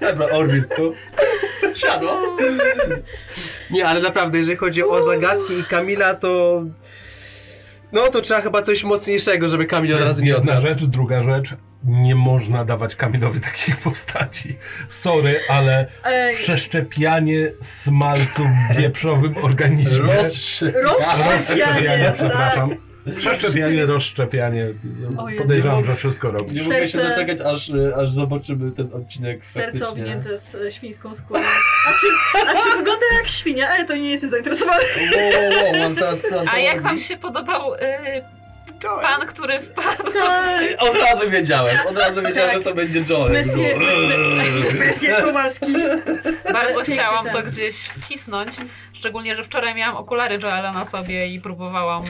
[SPEAKER 3] Dobra, Orwil, to siadło.
[SPEAKER 7] Nie, ale naprawdę, jeżeli chodzi o zagadki i Kamila, to... No to trzeba chyba coś mocniejszego, żeby Kamil od
[SPEAKER 1] To jest
[SPEAKER 7] razu nie
[SPEAKER 1] jedna
[SPEAKER 7] odnalazł.
[SPEAKER 1] rzecz, druga rzecz. Nie można dawać Kamilowi takiej postaci. Sorry, ale
[SPEAKER 4] Ej,
[SPEAKER 1] przeszczepianie smalcu w wieprzowym organizmie.
[SPEAKER 3] Rozszy...
[SPEAKER 4] rozszerzanie,
[SPEAKER 1] Rozszczepianie,
[SPEAKER 4] tak.
[SPEAKER 1] przepraszam. Przeszczepianie, rozszczepianie.
[SPEAKER 4] O Jezu.
[SPEAKER 1] Podejrzewam, że wszystko robi.
[SPEAKER 3] Nie mogę się
[SPEAKER 4] Serce-
[SPEAKER 3] doczekać, aż, e, aż zobaczymy ten odcinek
[SPEAKER 4] Serce
[SPEAKER 3] faktycznie.
[SPEAKER 4] owinięte z e, świńską skórą. A czy, a czy wygląda jak świnia? Ale to nie jestem zainteresowana.
[SPEAKER 3] Wow, wow, wow, on teraz plan
[SPEAKER 6] a
[SPEAKER 3] to
[SPEAKER 6] jak
[SPEAKER 3] robi.
[SPEAKER 6] wam się podobał y, pan, który wpadł?
[SPEAKER 4] Tak.
[SPEAKER 3] Od razu wiedziałem, od razu wiedziałem,
[SPEAKER 4] Tak.
[SPEAKER 3] że to będzie Joel.
[SPEAKER 4] Messie, Messie Kowalski.
[SPEAKER 6] Bardzo
[SPEAKER 4] Piękny
[SPEAKER 6] chciałam to
[SPEAKER 4] ten.
[SPEAKER 6] gdzieś wcisnąć, szczególnie, że wczoraj miałam okulary Joela na sobie i próbowałam...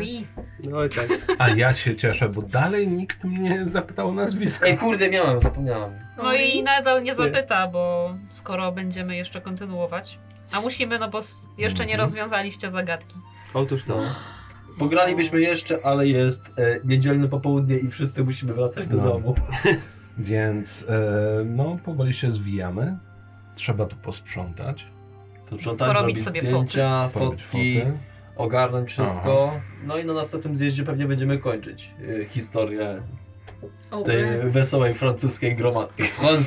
[SPEAKER 6] y,
[SPEAKER 7] No i tak.
[SPEAKER 1] A ja się cieszę, bo dalej nikt mnie zapytał o nazwisko.
[SPEAKER 3] Ej, kurde, miałem, zapomniałem.
[SPEAKER 6] No i nadal nie zapyta, bo skoro będziemy jeszcze kontynuować. A musimy, no bo s- jeszcze nie
[SPEAKER 1] Mhm.
[SPEAKER 6] rozwiązaliście zagadki.
[SPEAKER 7] Otóż to.
[SPEAKER 3] Pogralibyśmy jeszcze, ale jest e, niedzielne popołudnie i wszyscy musimy wracać do
[SPEAKER 1] No.
[SPEAKER 3] domu.
[SPEAKER 1] Więc e, no, powoli się zwijamy. Trzeba tu posprzątać.
[SPEAKER 3] To Sprzątać,
[SPEAKER 6] Porobić
[SPEAKER 3] zrobić
[SPEAKER 6] sobie
[SPEAKER 3] zdjęcia,
[SPEAKER 1] porobić
[SPEAKER 3] fotki,
[SPEAKER 1] foty.
[SPEAKER 3] ogarnąć wszystko. No i na następnym zjeździe pewnie będziemy kończyć e, historię
[SPEAKER 4] O,
[SPEAKER 3] tej wesołej francuskiej gromadki.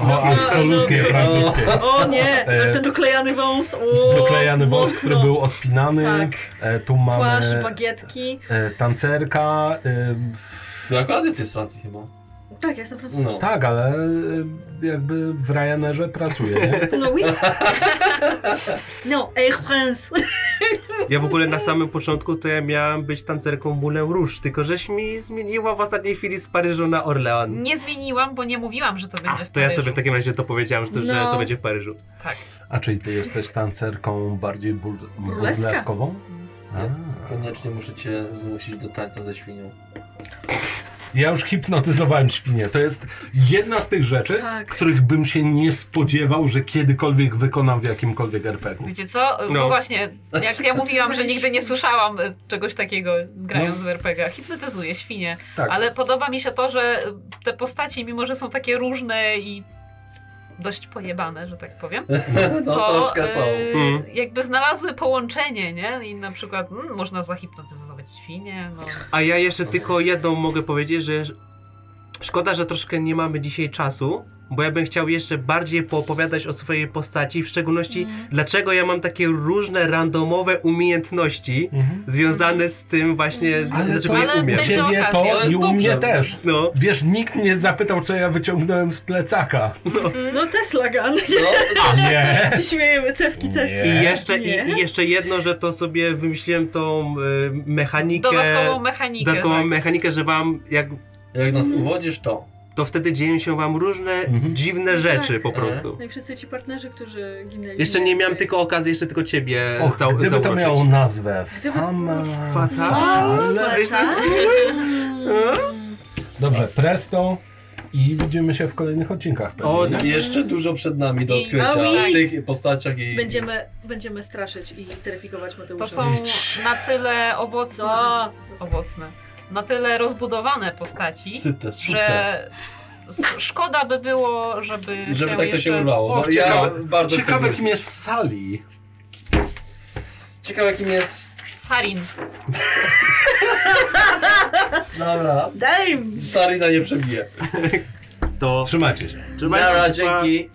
[SPEAKER 1] O, absolutnie
[SPEAKER 4] No,
[SPEAKER 1] francuskie.
[SPEAKER 4] o nie,
[SPEAKER 1] E,
[SPEAKER 4] ten doklejany wąs. O,
[SPEAKER 1] Doklejany wąs, który
[SPEAKER 4] mocno.
[SPEAKER 1] był odpinany.
[SPEAKER 4] Tak.
[SPEAKER 1] E, tu mamy
[SPEAKER 4] Płaszcz, bagietki.
[SPEAKER 1] e, tancerka. E,
[SPEAKER 3] To akurat jest z Francji chyba.
[SPEAKER 4] Tak, ja jestem francuską.
[SPEAKER 3] No.
[SPEAKER 1] tak, ale e, jakby w Ryanerze pracuje,
[SPEAKER 4] (laughs)
[SPEAKER 1] nie? (laughs)
[SPEAKER 4] No, oui. No, Air France.
[SPEAKER 7] Ja w ogóle na samym początku to ja miałam być tancerką Moulin Rouge, tylko żeś mi zmieniła w ostatniej chwili z Paryżu na Orlean.
[SPEAKER 6] Nie zmieniłam, bo nie mówiłam, że to będzie
[SPEAKER 7] A,
[SPEAKER 6] w
[SPEAKER 7] to ja
[SPEAKER 6] Paryżu.
[SPEAKER 7] sobie tak- w takim razie to powiedziałam, że to, że
[SPEAKER 4] No.
[SPEAKER 7] to będzie w Paryżu.
[SPEAKER 1] A czyli ty jesteś tancerką bardziej bur
[SPEAKER 4] Burleska.
[SPEAKER 1] burleskową?
[SPEAKER 3] Nie,
[SPEAKER 1] A.
[SPEAKER 3] koniecznie muszę cię zmusić do tańca ze świnią.
[SPEAKER 1] Ja już hipnotyzowałem świnie. To jest jedna z tych rzeczy,
[SPEAKER 4] Tak.
[SPEAKER 1] których bym się nie spodziewał, że kiedykolwiek wykonam w jakimkolwiek RPG-u.
[SPEAKER 6] Wiecie co? No,
[SPEAKER 7] No.
[SPEAKER 6] właśnie, jak ja mówiłam, że nigdy nie
[SPEAKER 4] Świnie.
[SPEAKER 6] słyszałam y, czegoś takiego grając w RPG, hipnotyzuje świnie.
[SPEAKER 1] Tak.
[SPEAKER 6] e, Ale podoba mi się to, że y, te postaci, mimo że są takie różne i dość pojebane, że tak powiem,
[SPEAKER 3] (laughs) No
[SPEAKER 6] to
[SPEAKER 3] troszkę są.
[SPEAKER 6] y,
[SPEAKER 7] Mm.
[SPEAKER 6] jakby znalazły połączenie, nie? I na przykład mm, można zahipnotyzować świnie, no.
[SPEAKER 7] A ja jeszcze tylko jedną mogę powiedzieć, że szkoda, że troszkę nie mamy dzisiaj czasu, bo ja bym chciał jeszcze bardziej poopowiadać o swojej postaci, w szczególności
[SPEAKER 6] Mhm.
[SPEAKER 7] dlaczego ja mam takie różne randomowe umiejętności związane z tym właśnie,
[SPEAKER 1] Mhm. Ale
[SPEAKER 7] dlaczego
[SPEAKER 1] to-
[SPEAKER 7] je
[SPEAKER 6] Ale
[SPEAKER 7] umiem.
[SPEAKER 6] będzie
[SPEAKER 1] Ciebie
[SPEAKER 6] okazja.
[SPEAKER 3] To
[SPEAKER 1] to
[SPEAKER 3] jest
[SPEAKER 1] i u mnie
[SPEAKER 3] dobrze.
[SPEAKER 1] też.
[SPEAKER 7] No,
[SPEAKER 1] Wiesz, nikt nie zapytał, co ja wyciągnąłem z plecaka.
[SPEAKER 4] No Tesla Gun.
[SPEAKER 3] No,
[SPEAKER 1] Nie.
[SPEAKER 4] (laughs) Się śmiejemy, cewki, cewki.
[SPEAKER 1] Nie.
[SPEAKER 7] I jeszcze,
[SPEAKER 4] Nie.
[SPEAKER 7] i, i jeszcze jedno, że to sobie wymyśliłem tą y, mechanikę,
[SPEAKER 6] Dodatkową mechanikę.
[SPEAKER 7] dodatkową
[SPEAKER 6] tak.
[SPEAKER 7] mechanikę, że wam, jak,
[SPEAKER 3] jak nas uwodzisz, to.
[SPEAKER 7] to wtedy dzieją się wam różne
[SPEAKER 1] Mhm.
[SPEAKER 7] dziwne
[SPEAKER 4] No
[SPEAKER 7] rzeczy
[SPEAKER 4] tak.
[SPEAKER 7] po prostu.
[SPEAKER 4] No i wszyscy ci partnerzy, którzy ginęli.
[SPEAKER 7] Jeszcze nie miałem tylko okazji, jeszcze tylko ciebie
[SPEAKER 1] Och,
[SPEAKER 7] zau-
[SPEAKER 1] gdyby to
[SPEAKER 7] zauroczyć.
[SPEAKER 1] miało nazwę.
[SPEAKER 4] Gdyby-
[SPEAKER 1] Fama...
[SPEAKER 7] Fatalne.
[SPEAKER 1] Ale-
[SPEAKER 7] Wiesz, to jest-
[SPEAKER 1] Dobrze, presto i widzimy się w kolejnych odcinkach. pewnie.
[SPEAKER 7] O,
[SPEAKER 3] I jeszcze dużo przed nami do
[SPEAKER 6] I-
[SPEAKER 3] odkrycia
[SPEAKER 4] Maui.
[SPEAKER 3] w tych postaciach i...
[SPEAKER 4] Będziemy, będziemy straszyć i teryfikować Mateusza.
[SPEAKER 6] To są na tyle owocne,
[SPEAKER 4] Co?
[SPEAKER 6] owocne, na tyle rozbudowane postaci,
[SPEAKER 3] Syte, sute.
[SPEAKER 6] że s- szkoda by było, żeby,
[SPEAKER 3] Żeby
[SPEAKER 6] się
[SPEAKER 3] tak to się
[SPEAKER 6] jeszcze...
[SPEAKER 3] urwało.
[SPEAKER 1] Och,
[SPEAKER 3] No, ja
[SPEAKER 1] ciekawe-
[SPEAKER 3] bardzo chcę
[SPEAKER 1] Ciekawe,
[SPEAKER 3] wrócić.
[SPEAKER 1] kim jest Sali.
[SPEAKER 3] Ciekawe kim jest...
[SPEAKER 6] Sarin.
[SPEAKER 3] Dobra.
[SPEAKER 4] Dame!
[SPEAKER 3] Sarina nie przebije.
[SPEAKER 7] To...
[SPEAKER 1] Trzymajcie się.
[SPEAKER 3] Nara, dzięki.